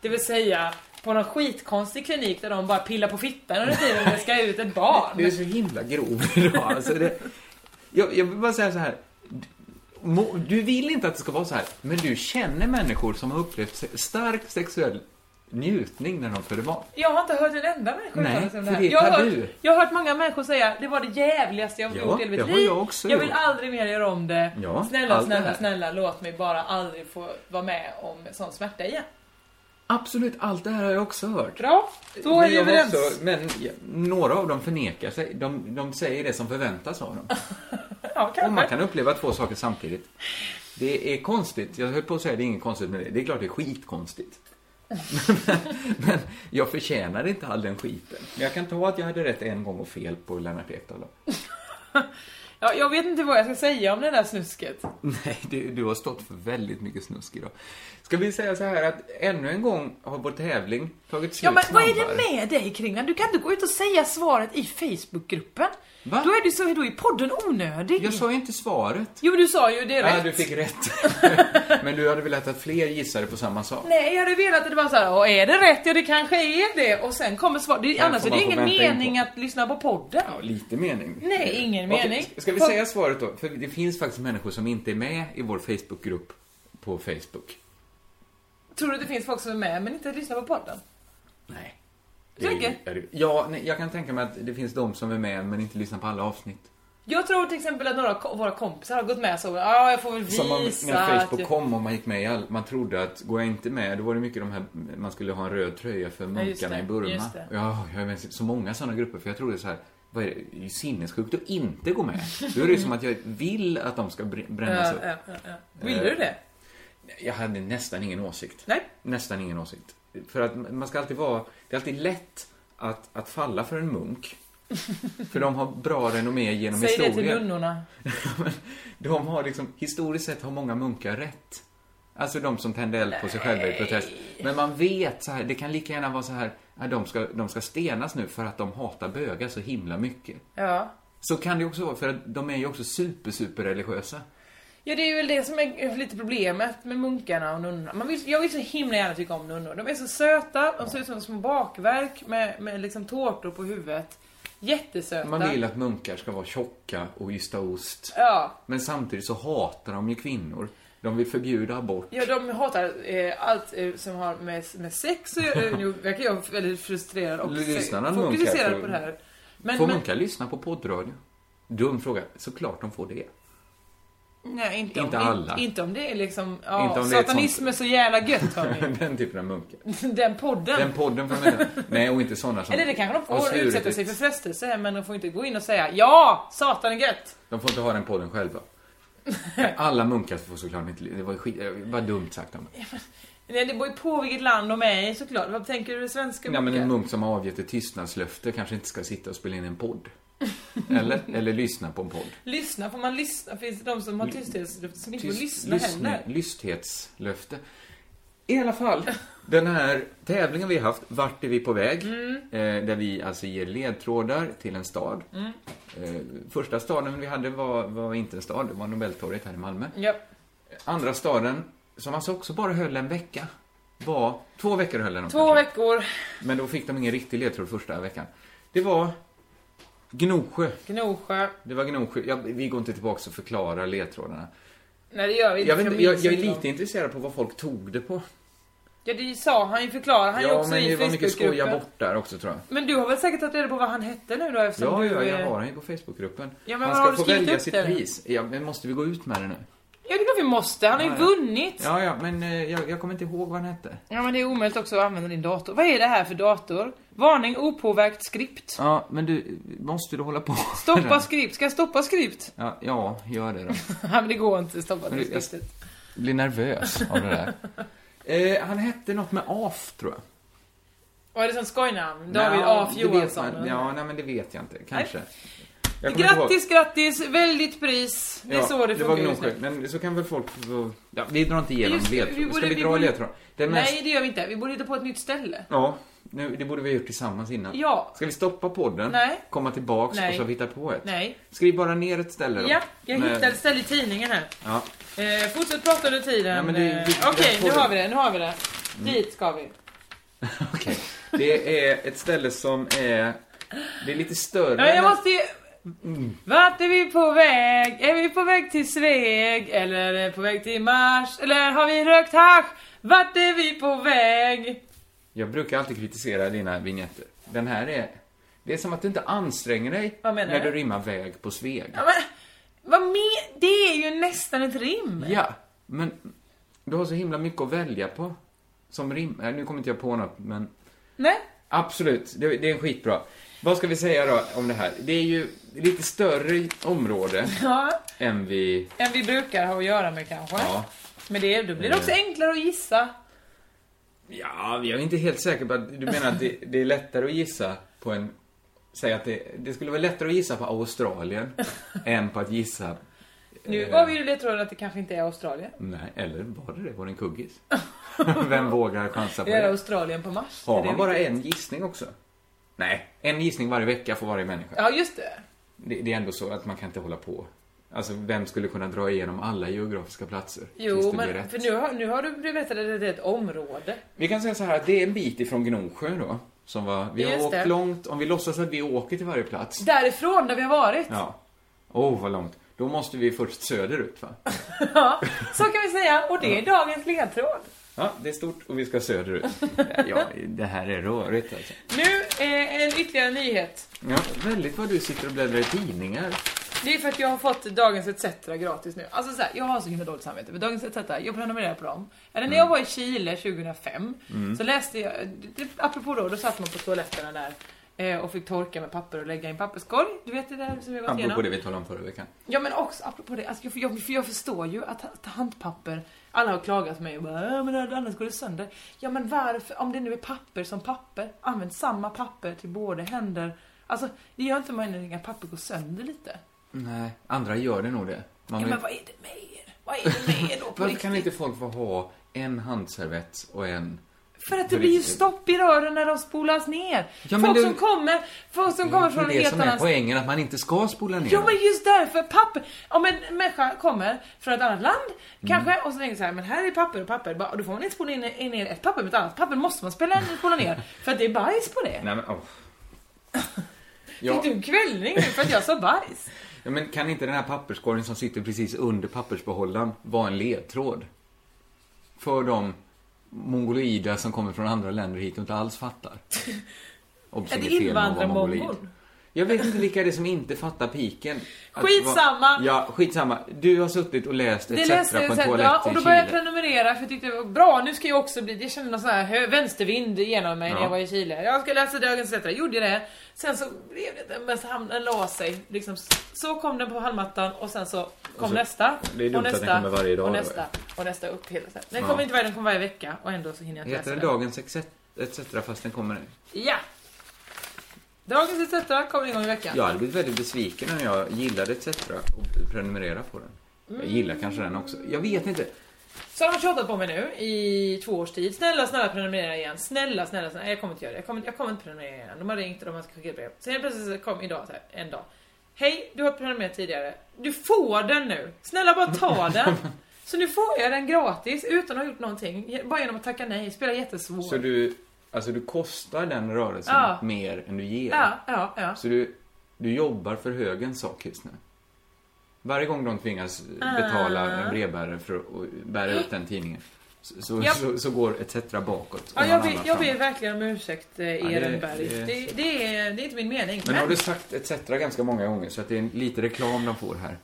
G: Det vill säga, på någon skitkonstig klinik där de bara pillar på fittan under tiden det ska ut ett barn.
B: Det är så himla grov idag. Alltså det, jag, jag vill bara säga så här. Du- må- Du vill inte att det ska vara så här, men du känner människor som har upplevt se- stark sexuell njutning när de föder barn.
G: Jag har inte hört en enda människa
B: Nej,
G: uttala sig om det
B: för
G: här.
B: det är
G: jag, har
B: tabu.
G: hört, jag har hört många människor säga det var det jävligaste jag har
B: Ja,
G: gjort i hela mitt
B: det har
G: liv.
B: jag också
G: vill
B: gjort."
G: aldrig mer göra om det.
B: Ja,
G: snälla,
B: allt det
G: snälla,
B: här.
G: snälla låt mig bara aldrig få vara med om sån smärta igen.
B: Absolut, allt det här har jag också hört.
G: Bra, då är
B: Men
G: vi
B: jag var
G: överens.
B: också- men ja, några av dem förnekar sig. De, de säger det som förväntas av dem.
G: Ja,
B: Och man kan uppleva två saker samtidigt. Det är konstigt. Jag höll på att säga det är inget konstigt med det. Det är klart det är skitkonstigt. men, men jag förtjänar inte all den skiten. Men jag kan ta att jag hade rätt en gång och fel på Lennart Ekdahl. då.
G: Ja, jag vet inte vad jag ska säga om det där
B: Typ
G: snusket.
B: Nej, du, du har stått för väldigt mycket snusk idag. Ska vi säga så här att ännu en gång har vår tävling tagit slut
G: Ja, men vad är
B: snabbare.
G: det med dig Kringlan? Du kan inte gå ut och säga svaret i Facebookgruppen. Då
B: Va?
G: är du så, då är podden onödig.
B: Jag sa ju inte svaret.
G: Jo, men du sa ju det
B: Ja,
G: rätt.
B: du fick rätt. Men du hade velat att fler gissade på samma sak.
G: Nej, jag hade velat att det var så här, "Åh, är det rätt? Ja, det kanske är det. Och sen kommer svaret. Det-
B: Ja,
G: Annars
B: får
G: är det
B: man få
G: ingen
B: vänta in
G: mening
B: på.
G: att lyssna på podden.
B: Ja, lite mening.
G: Nej, ingen
B: Okej,
G: mening.
B: Ska vi
G: För-
B: säga svaret då? För det finns faktiskt människor som inte är med i vår Facebookgrupp på Facebook.
G: Tror du att det finns folk som är med men inte lyssnar på podden?
B: Nej.
G: Du
B: Det är ju-
G: tycker?
B: är det- Ja, nej, jag kan tänka mig att det finns de som är med men inte lyssnar på alla avsnitt.
G: Jag tror till exempel att några av ko- våra kompisar har gått med så. Ja, jag får väl visa
B: Som man, när
G: att
B: Facebook
G: jag...
B: kom och man gick med i all, man trodde att går jag inte med, då var det mycket de här, man skulle ha en röd tröja för
G: just
B: munkarna
G: det,
B: i Burma.
G: just det.
B: Ja, jag är med i så många sådana grupper, för jag trodde så här, vad är det, det är ju sinnessjukt att inte gå med. Då är det ju som att jag vill att de ska br- brännas
G: Ja,
B: upp.
G: ja, ja, ja. Vill du
B: Eh,
G: det?
B: Jag hade nästan ingen åsikt.
G: Nej.
B: Nästan ingen åsikt. För att man ska alltid vara, det är alltid lätt att, att falla för en munk. för de har bra renommé genom
G: Säg det
B: historien.
G: till nunnorna.
B: De har liksom, historiskt sett har många munkar rätt. Alltså de som tände eld på sig själva i protest. Men man vet så här, det kan lika gärna vara så här, att de ska, de ska stenas nu för att de hatar bögar så himla mycket.
G: Ja.
B: Så kan det ju också vara, för att de är ju också super, super religiösa.
G: Ja det är väl det som är lite problemet med munkarna och nunnorna. Man vill, jag vill så himla gärna tycka om nunnor. De är så söta, de ser ut som små bakverk med, med liksom tårtor på huvudet. Jättesöta.
B: Man vill att munkar ska vara tjocka och ysta ost.
G: Ja.
B: Men samtidigt så hatar de ju kvinnor. De vill förbjuda abort.
G: Ja, de hatar eh, allt eh, som har med, med sex att göra. Nu verkar jag väldigt frustrerad och
B: Lyssnar han munkar
G: fokuserad
B: på-
G: på det här.
B: får munkar lyssna på poddradio? Dum fråga. Såklart de får det.
G: Nej, inte,
B: Inte
G: om,
B: alla.
G: Inte, om det är liksom, ja,
B: Inte om det är ett
G: satanism är, så jävla gött hörni.
B: Den typen av munkar.
G: Den podden.
B: Den podden får man Nej, och inte sådana som
G: Eller det kanske de
B: har
G: får
B: svurit
G: utsätta
B: ut.
G: sig för frestelse men de får inte gå in och säga ja, satan är gött.
B: De får inte ha den podden själva. Alla munkar får såklart inte... Det var ju skit... Det var dumt sagt om det.
G: Nej, det beror ju på vilket land de är i såklart. Vad tänker du svenska
B: Nej, men
G: munkar?
B: en munk som har avgett ett tystnadslöfte kanske inte ska sitta och spela in en podd. Eller, eller lyssna på en podd.
G: Lyssna, får man lyssna? Finns det de som har tysthetslöfte som inte får
B: Tyst-
G: lyssna
B: lyssne-
G: heller?
B: Lysthetslöfte. I alla fall, den här tävlingen vi har haft, Vart är vi på väg?
G: Mm.
B: Eh, där vi alltså ger ledtrådar till en stad.
G: Mm.
B: Eh, första staden vi hade var, var inte en stad, det var Nobeltorget här i Malmö.
G: Ja.
B: Andra staden, som alltså också bara höll en vecka, var... Två veckor höll den.
G: Två veckor,
B: Men då fick de ingen riktig ledtråd första veckan. Det var Gnosjö.
G: Gnosjö.
B: Det var Gnosjö. Ja, vi går inte tillbaka och förklarar ledtrådarna.
G: Nej det gör vi inte.
B: Jag, vet,
G: för
B: inte, jag,
G: minns
B: jag är
G: inte dem.
B: lite intresserad på vad folk tog det på.
G: Ja det sa han ju, förklarar han ju
B: Ja,
G: också
B: men
G: i
B: det var mycket skoja
G: Facebookgruppen.
B: bort där också tror jag.
G: Men du har väl säkert tagit reda på vad han hette nu då eftersom
B: Ja,
G: du...
B: ja, jag
G: eh,
B: har den ju på Facebookgruppen.
G: Ja, men
B: Han
G: vad
B: ska
G: har du
B: få
G: skrivit
B: välja
G: upp
B: sitt
G: där?
B: pris. Ja, men måste vi gå ut med det nu?
G: Ja det är klart vi måste, han har ju
B: Ja, ja.
G: vunnit. Ja.
B: Ja, ja, men eh, jag, jag kommer inte ihåg vad den hette.
G: men det är omöjligt också att använda din dator. Vad är det här för dator? Varning opåverkt skript.
B: Ja, men du, måste du hålla på? med
G: Stoppa
B: den?
G: skript, ska jag stoppa skript?
B: Ja, ja, gör det då.
G: Nej men det går inte, stoppa
B: Men
G: det
B: det- jag-
G: skriptet.
B: Blir nervös av det där. Eh, han hette något med AF, tror jag.
G: Vad är det som skojnamn? David
B: Nej,
G: A.
B: det vet
G: Johansson?
B: man-
G: eller?
B: Ja, nej men det vet jag inte. Kanske. Jag kommer inte ihåg.
G: Grattis, grattis, väldigt pris. Det är
B: Ja,
G: så det
B: det var
G: funkar just
B: Gnosjö.
G: nu.
B: Men så kan väl folk få... Ja, vi drar inte igenom
G: Just det, vi
B: ledtrådar. Ska
G: borde-
B: vi
G: vi
B: dra
G: borde-
B: ledtrådar? Den mest-
G: Nej det gör vi inte, vi borde hitta på ett nytt ställe.
B: Ja, nu, det borde vi ha gjort tillsammans innan.
G: Ja.
B: Ska vi stoppa podden,
G: Nej.
B: komma tillbaks
G: Nej.
B: och så hitta på ett?
G: Nej.
B: Skriv bara ner ett ställe då.
G: Ja, jag
B: Men-
G: hittade ett ställe i tidningen här.
B: Ja.
G: Eh, fortsätt prata under tiden.
B: Ja, men det-
G: Eh,
B: det-
G: Okej,
B: det-
G: nu har vi det, nu har vi det.
B: Mm.
G: Dit ska vi.
B: Det är ett ställe som är... Det är lite större.
G: Ja, jag
B: än-
G: måste ju...
B: Mm.
G: Vart är vi på väg? Är vi på väg till Sveg? Eller är vi på väg till Mars? Eller har vi rökt hasch? Vart är vi på väg?
B: Jag brukar alltid kritisera dina vignetter. Den här är... Det är som att du inte anstränger dig
G: Vad menar
B: när
G: du?
B: du rimmar väg på Sveg.
G: Ja, men, vad men... Det är ju nästan ett rim.
B: Ja, men du har så himla mycket att välja på. Som rim. Nej, nu kommer inte jag på något, men...
G: Nej?
B: Absolut, det, det är en skitbra. Vad ska vi säga då om det här? Det är ju lite större område
G: Ja,
B: än vi...
G: än vi brukar ha att göra med kanske.
B: Ja.
G: Men det, då blir det också
B: Eh.
G: enklare att gissa.
B: Ja, jag är inte helt säker på att... Du menar att det, det är lättare att gissa på en... Säg att det, det skulle vara lättare att gissa på Australien än på att gissa...
G: Nu
B: eh,
G: gav ju ledtråden att det kanske inte är Australien.
B: Nej, eller var det det? Var det en kuggis? Vem vågar chansa på
G: Det är
B: det?
G: Australien på Mars.
B: Har
G: Det är
B: man
G: det
B: bara
G: vi-
B: en gissning också? Nej, en gissning varje vecka för varje människa.
G: Ja, just det.
B: Det, det är ändå så att man kan inte hålla på. Alltså, vem skulle kunna dra igenom alla geografiska platser? tills
G: Jo,
B: det blir
G: men
B: rätt?
G: för nu har, nu har du berättat att det är ett område.
B: Vi kan säga så här att det är en bit ifrån Gnosjö då. Som var, vi har
G: Just
B: åkt
G: det.
B: långt, om vi låtsas att vi åker till varje plats.
G: Därifrån, där vi har varit.
B: Ja. Åh, oh, vad långt. Då måste vi först söderut va?
G: Ja, så kan vi säga. Och det är dagens ledtråd.
B: Ja, det är stort och vi ska söderut. Ja, det här är rörigt alltså.
G: Nu eh, en ytterligare nyhet.
B: Ja, väldigt vad du sitter och bläddrar i tidningar.
G: Det är för att jag har fått Dagens ETC gratis nu. Alltså så här, jag har så himla dåligt samvete för Dagens ETC. Jag prenumererar på dem. Eller
B: Mm.
G: när jag var i Chile 2005
M: Mm.
G: så läste jag, det, apropå då, då satt man på toaletterna där eh, och fick torka med papper och lägga i en papperskorg. Du vet det där som vi har gått igenom.
B: Apropå det vi talade om förra veckan.
G: Ja men också apropå det, alltså, jag, jag, för jag förstår ju att, att handpapper, alla har klagat på mig och bara "Äh, men annars går det sönder. Ja men varför, om det nu är papper som papper, använd samma papper till båda händer. Alltså det gör inte mig någonting att papper går sönder lite.
B: Nej, andra gör det nog det. Man
G: ja
B: vill-
G: men vad är det med er? Vad Vad är det med då på
B: Varför kan
G: riktigt?
B: inte folk få ha en handservett och en...
G: För att det blir ju stopp i rören när de spolas ner.
B: Ja, men
G: folk,
B: det-
G: som kommer, folk som kommer
B: Det
G: från
B: är
G: en
B: det
G: helt
B: som är
G: annan...
B: poängen, att man inte ska spola ner.
G: Jo men just därför, papper. Om en människa kommer från ett annat land, kanske, och så tänker så här, men här är papper och papper. Bara, Och då får man inte spola in- ner ett papper, men ett annat papper måste man spela spola ner. För att det är bajs på det.
B: Nej men, åh. ja,
G: Fick du kvällning nu för att jag sa bajs?
B: ja, men kan inte den här papperskorgen som sitter precis under pappersbehållaren vara en ledtråd? För de mongoloida som kommer från andra länder hit och inte alls fattar.
G: Ett
B: Observera fel med att vara mongolid.
G: invandrarmongon.
B: Jag vet inte vilka det är som inte fattar piken. Att
G: Skitsamma.
B: va- Ja, skitsamma. Du har suttit och läst
G: Det
B: ETC
G: läste
B: på
G: jag
B: en
G: sen,
B: toalett
G: ja,
B: i
G: och då
B: Chile.
G: började jag prenumerera för jag tyckte det var bra, nu ska jag också bli, jag kände någon sån här hö- vänstervind genom mig när
B: Ja.
G: jag var i Chile. Jag ska läsa Dagens ETC, gjorde jag det. Sen så blev det inte, men så hamn- den la sig. Liksom, så kom den på halmmattan och sen så kom
B: Och så-
G: nästa.
B: det är dumt
G: och
B: att den
G: nästa,
B: kommer varje dag
G: Och
B: då,
G: nästa, och nästa upp hela tiden. Den
B: Ja.
G: kommer inte varje, den kommer varje vecka och ändå så hinner jag inte läsa
B: Heter den
G: den.
B: Dagens Etc. etc, fast den kommer...
G: Ja! Dagens ETC kommer en gång i veckan.
B: Jag hade blivit väldigt besviken om jag gillade etc. och prenumererade på den. Jag gillar kanske den också. Jag vet inte.
G: Så har de tjatat på mig nu i två års tid. Snälla, snälla prenumerera igen. Snälla, snälla, snälla. Nej, jag kommer inte göra det. Jag kommer, jag kommer inte prenumerera igen. De har ringt och de har skickat brev. Sen helt plötsligt så kom idag, så här, en dag. Hej, du har prenumererat tidigare. Du får den nu. Snälla bara ta den. Så nu får jag den gratis utan att ha gjort någonting. Bara genom att tacka nej. Spelar jättesvår.
B: Så du, alltså du kostar den rörelsen
G: Ja.
B: mer än du ger.
G: Ja, ja, ja.
B: Så du, du jobbar för högens sak just nu. Varje gång de tvingas
G: Ah.
B: betala en brevbärare för att bära upp den tidningen så, så,
G: Japp.
B: så, så går etc. bakåt. och
G: Ja,
B: någon
G: jag,
B: annan
G: ber, jag ber
B: framåt.
G: verkligen om ursäkt, eh,
B: det-
G: Ehrenberg.
B: det-
G: Det, det, är, det är inte min mening.
B: Men har du sagt etc. ganska många gånger så att det är lite reklam de får här.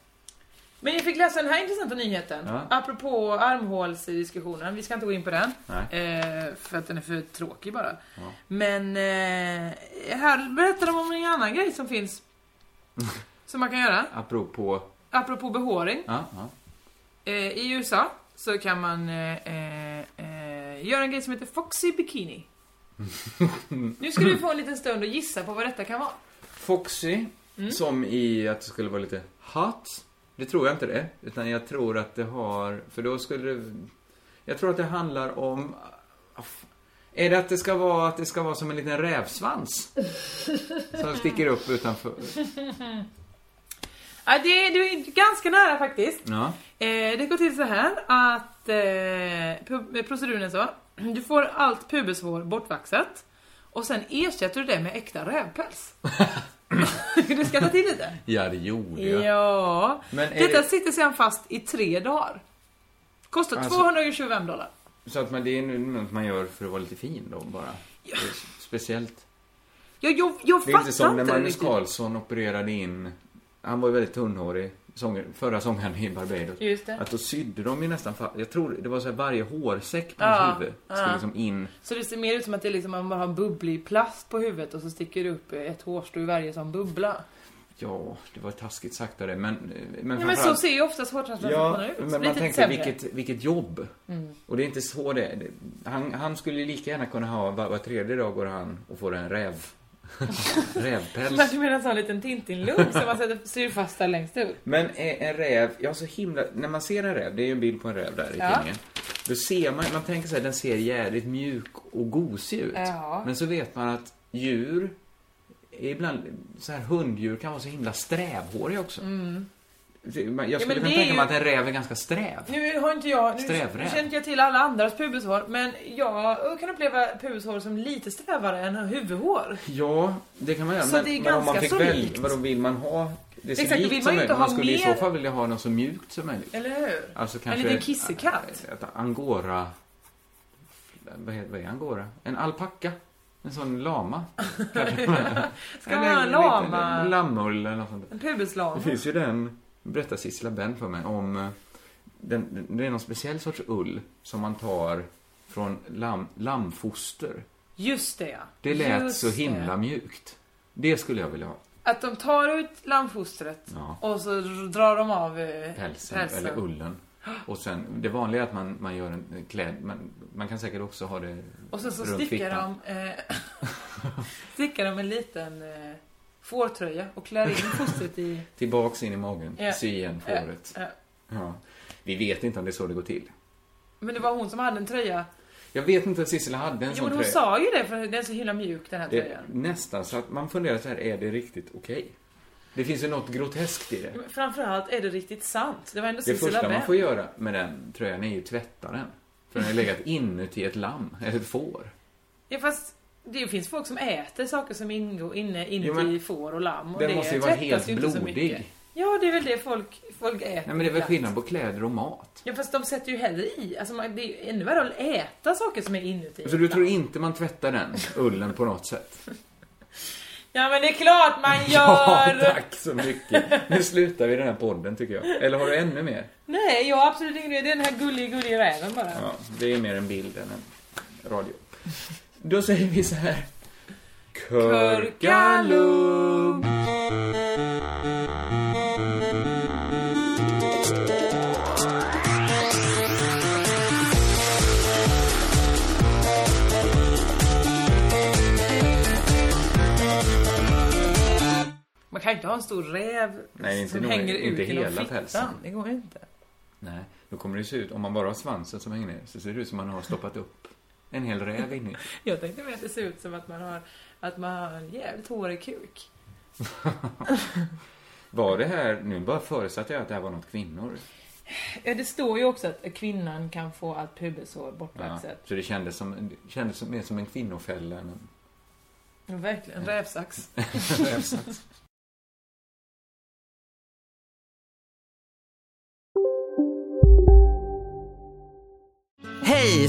G: Men jag fick läsa den här intressanta nyheten.
B: Ja.
G: Apropå armhålsdiskussionen. Vi ska inte gå in på den.
B: Nej.
G: Eh, för att den är för tråkig bara.
B: Ja.
G: Men eh, här berättar de om en annan grej som finns. som man kan göra.
B: Apropå...
G: Apropå behåring.
B: Ja, ja.
G: Eh, I USA så kan man eh, eh, eh, göra en grej som heter Foxy Bikini. nu ska du få en liten stund att gissa på vad detta kan vara.
B: Foxy, som i att det skulle vara lite hot. Det tror jag inte det. Utan jag tror att det har... För då skulle det... Jag tror att det handlar om... Är det att det ska vara, att det ska vara som en liten rävsvans? Som sticker upp utanför...
G: Ja, det, du är ganska nära faktiskt.
B: Ja.
G: Eh, det går till så här att eh, pu- eh, proceduren är så. Du får allt pubeshår bortvaxat och sen ersätter du det med äkta rävpäls. du ska ta till lite.
B: Ja, det gjorde jag.
G: Ja.
B: Men är
G: Detta
B: det-
G: sitter sedan fast i tre dagar. Kostar
B: Alltså-
G: 225 dollar.
B: Så att man, det är något man gör för att vara lite fin då bara. Det är Speciellt.
G: Jag, jag, jag
B: Det är
G: fattar
B: inte som när
G: det
B: Magnus
G: riktigt.
B: Carlsson opererade in, han var ju väldigt tunnhårig, sånger, förra sångaren i Barbados.
G: Just det.
B: Att då sydde de ju nästan fa- jag tror det var så här varje hårsäck på
G: Ja,
B: hans huvud skulle
G: ja.
B: liksom in.
G: Så det ser mer ut som att det är liksom, man bara har bubblig plast på huvudet och så sticker det upp ett hårstrå i varje sån bubbla.
B: Ja, det var taskigt sagt av det, men... Men,
G: Men, ja, men så
B: framförallt-
G: ser ju oftast hårtransplantationer
B: Ja,
G: ut.
B: men man
G: Lite
B: tänker
G: sämre.
B: vilket, vilket jobb.
G: Mm.
B: Och det är inte så det är. Han, han skulle ju lika gärna kunna ha, var, var tredje dag går han och får en räv... rävpäls.
G: Men du menar en sån liten Tintin-lugg som man sätter syr fast där längst ut?
B: Men en en räv, jag har så himla, när man ser en räv, det är ju en bild på en räv där i
G: Ja.
B: tidningen. Då ser man, man tänker sig den ser jävligt mjuk och gosig ut.
G: Ja.
B: Men så vet man att djur, ibland, så här hunddjur kan vara så himla strävhåriga också.
G: Mm.
B: Det- man- Jag
G: Ja, men
B: skulle
G: det
B: kunna
G: är
B: tänka
G: ju-
B: mig att en räv är ganska sträv.
G: Nu har inte jag, nu
B: Strävräv.
G: nu känner inte jag till alla andras pubeshår, men jag kan uppleva pubeshår som lite strävare än huvudhår.
B: Ja, det kan man göra.
G: Så
B: men,
G: det är
B: men om man
G: ganska
B: fick
G: så
B: väl,
G: likt.
B: vadå vill man ha det så
G: Exakt, då
B: likt
G: vill man
B: som
G: ju
B: möjligt?
G: inte
B: Man
G: ha
B: skulle i
G: mer-
B: så fall vilja ha något så mjukt som möjligt.
G: Eller hur?
B: Alltså
G: en
B: kanske...
G: liten kissekatt.
B: Ett angora... Vad är, vad är angora? En alpacka. En sån lama. kanske.
G: Ska man ha en
B: liten-
G: lama?
B: Lammull eller något sånt.
G: En
B: Det
G: pubeslama.
B: finns ju den, berättar Sissela Benn för mig, om... eh, Den, den- det är någon speciell sorts ull som man tar från lamm, lammfoster.
G: Just det ja.
B: Det lät
G: Just
B: så
G: det.
B: himla mjukt. Det skulle jag vilja ha.
G: Att de tar ut lammfostret
B: Ja.
G: och så drar de av eh,
B: Pälsen, eller ullen. Och sen, det vanliga är att man, man gör en kläd... Man, man kan säkert också ha det
G: Och sen så
B: runt
G: stickar
B: fickan.
G: de, eh, stickar de en liten eh, fårtröja och klär in fostret i...
B: Tillbaks in i magen,
G: Ja.
B: sy igen fåret.
G: Ja, ja.
B: Ja. Vi vet inte om det är så det går till.
G: Men det var hon som hade en tröja.
B: Jag vet inte om Sissela hade en
G: Jo
B: sån
G: men hon
B: tröja.
G: sa ju det för den är så himla mjuk den här
B: det är
G: tröjan.
B: nästan så att man funderar så här, är det riktigt okej? Det finns ju något groteskt i det.
G: Men Framförallt är det riktigt sant. Det var ändå
B: Det
G: Sissela
B: första man
G: med.
B: får göra med den tröjan är ju tvätta den. För den har legat inuti ett lamm, eller ett får.
G: Ja fast det finns folk som äter saker som ingår inne
B: Jo,
G: inuti
B: men
G: får och lamm. Och
B: Den
G: det
B: måste ju vara
G: tvättas
B: helt
G: ju inte så mycket.
B: blodig.
G: Ja det är väl det folk, folk äter.
B: Nej men det är väl
G: Ja.
B: skillnad på kläder och mat.
G: Ja fast de sätter ju hellre i. Alltså man, det är ju ännu värre att äta saker som är inuti.
B: Så du tror inte man tvättar den ullen på något sätt?
G: Ja men det är klart man gör!
B: Ja, tack så mycket. Nu slutar vi den här podden tycker jag. Eller har du ännu mer?
G: Nej jag har absolut ingen idé. Det är den här gullig gullig räven bara.
B: Ja, det är mer en bild än en radio. Då säger vi så här. Körkalum!
G: Man kan ju inte ha en stor räv
B: Nej, inte
G: som
B: nog-
G: hänger
B: inte
G: ut genom
B: hela
G: fittan.
B: pälsen.
G: Det går ju inte.
B: Nej, då kommer det se ut, om man bara har svansen som hänger ner, så ser det ut som man har stoppat upp en hel räv in i.
G: Jag tänkte mer att det ser ut som att man har, att man har en jävligt hårig kuk.
B: Var det här, nu bara förutsatte jag att det här var något kvinnor.
G: Ja, det står ju också att kvinnan kan få allt pubeshår
B: Ja,
G: bortvaxat.
B: så det kändes, som, det kändes som, mer som en kvinnofälla än en
G: Ja. Verkligen, rävsax.
B: rävsax.
M: Hej,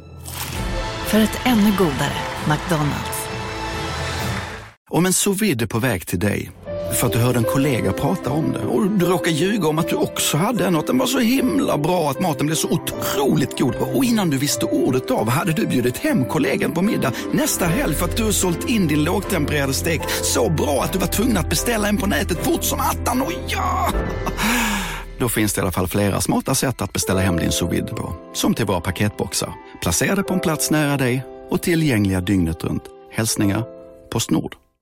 N: För ett ännu godare McDonalds.
O: Om en sous vide är på väg till dig för att du hörde en kollega prata om det och du råkade ljuga om att du också hade en och att den var så himla bra att maten blev så otroligt god och innan du visste ordet av hade du bjudit hem kollegan på middag nästa helg för att du sålt in din lågtempererade stek så bra att du var tvungen att beställa en på nätet fort som attan. Och ja! Då finns det i alla fall flera smarta sätt att beställa hem din sous vide på. Som till våra paketboxar, placerade på en plats nära dig och tillgängliga dygnet runt. Hälsningar Postnord.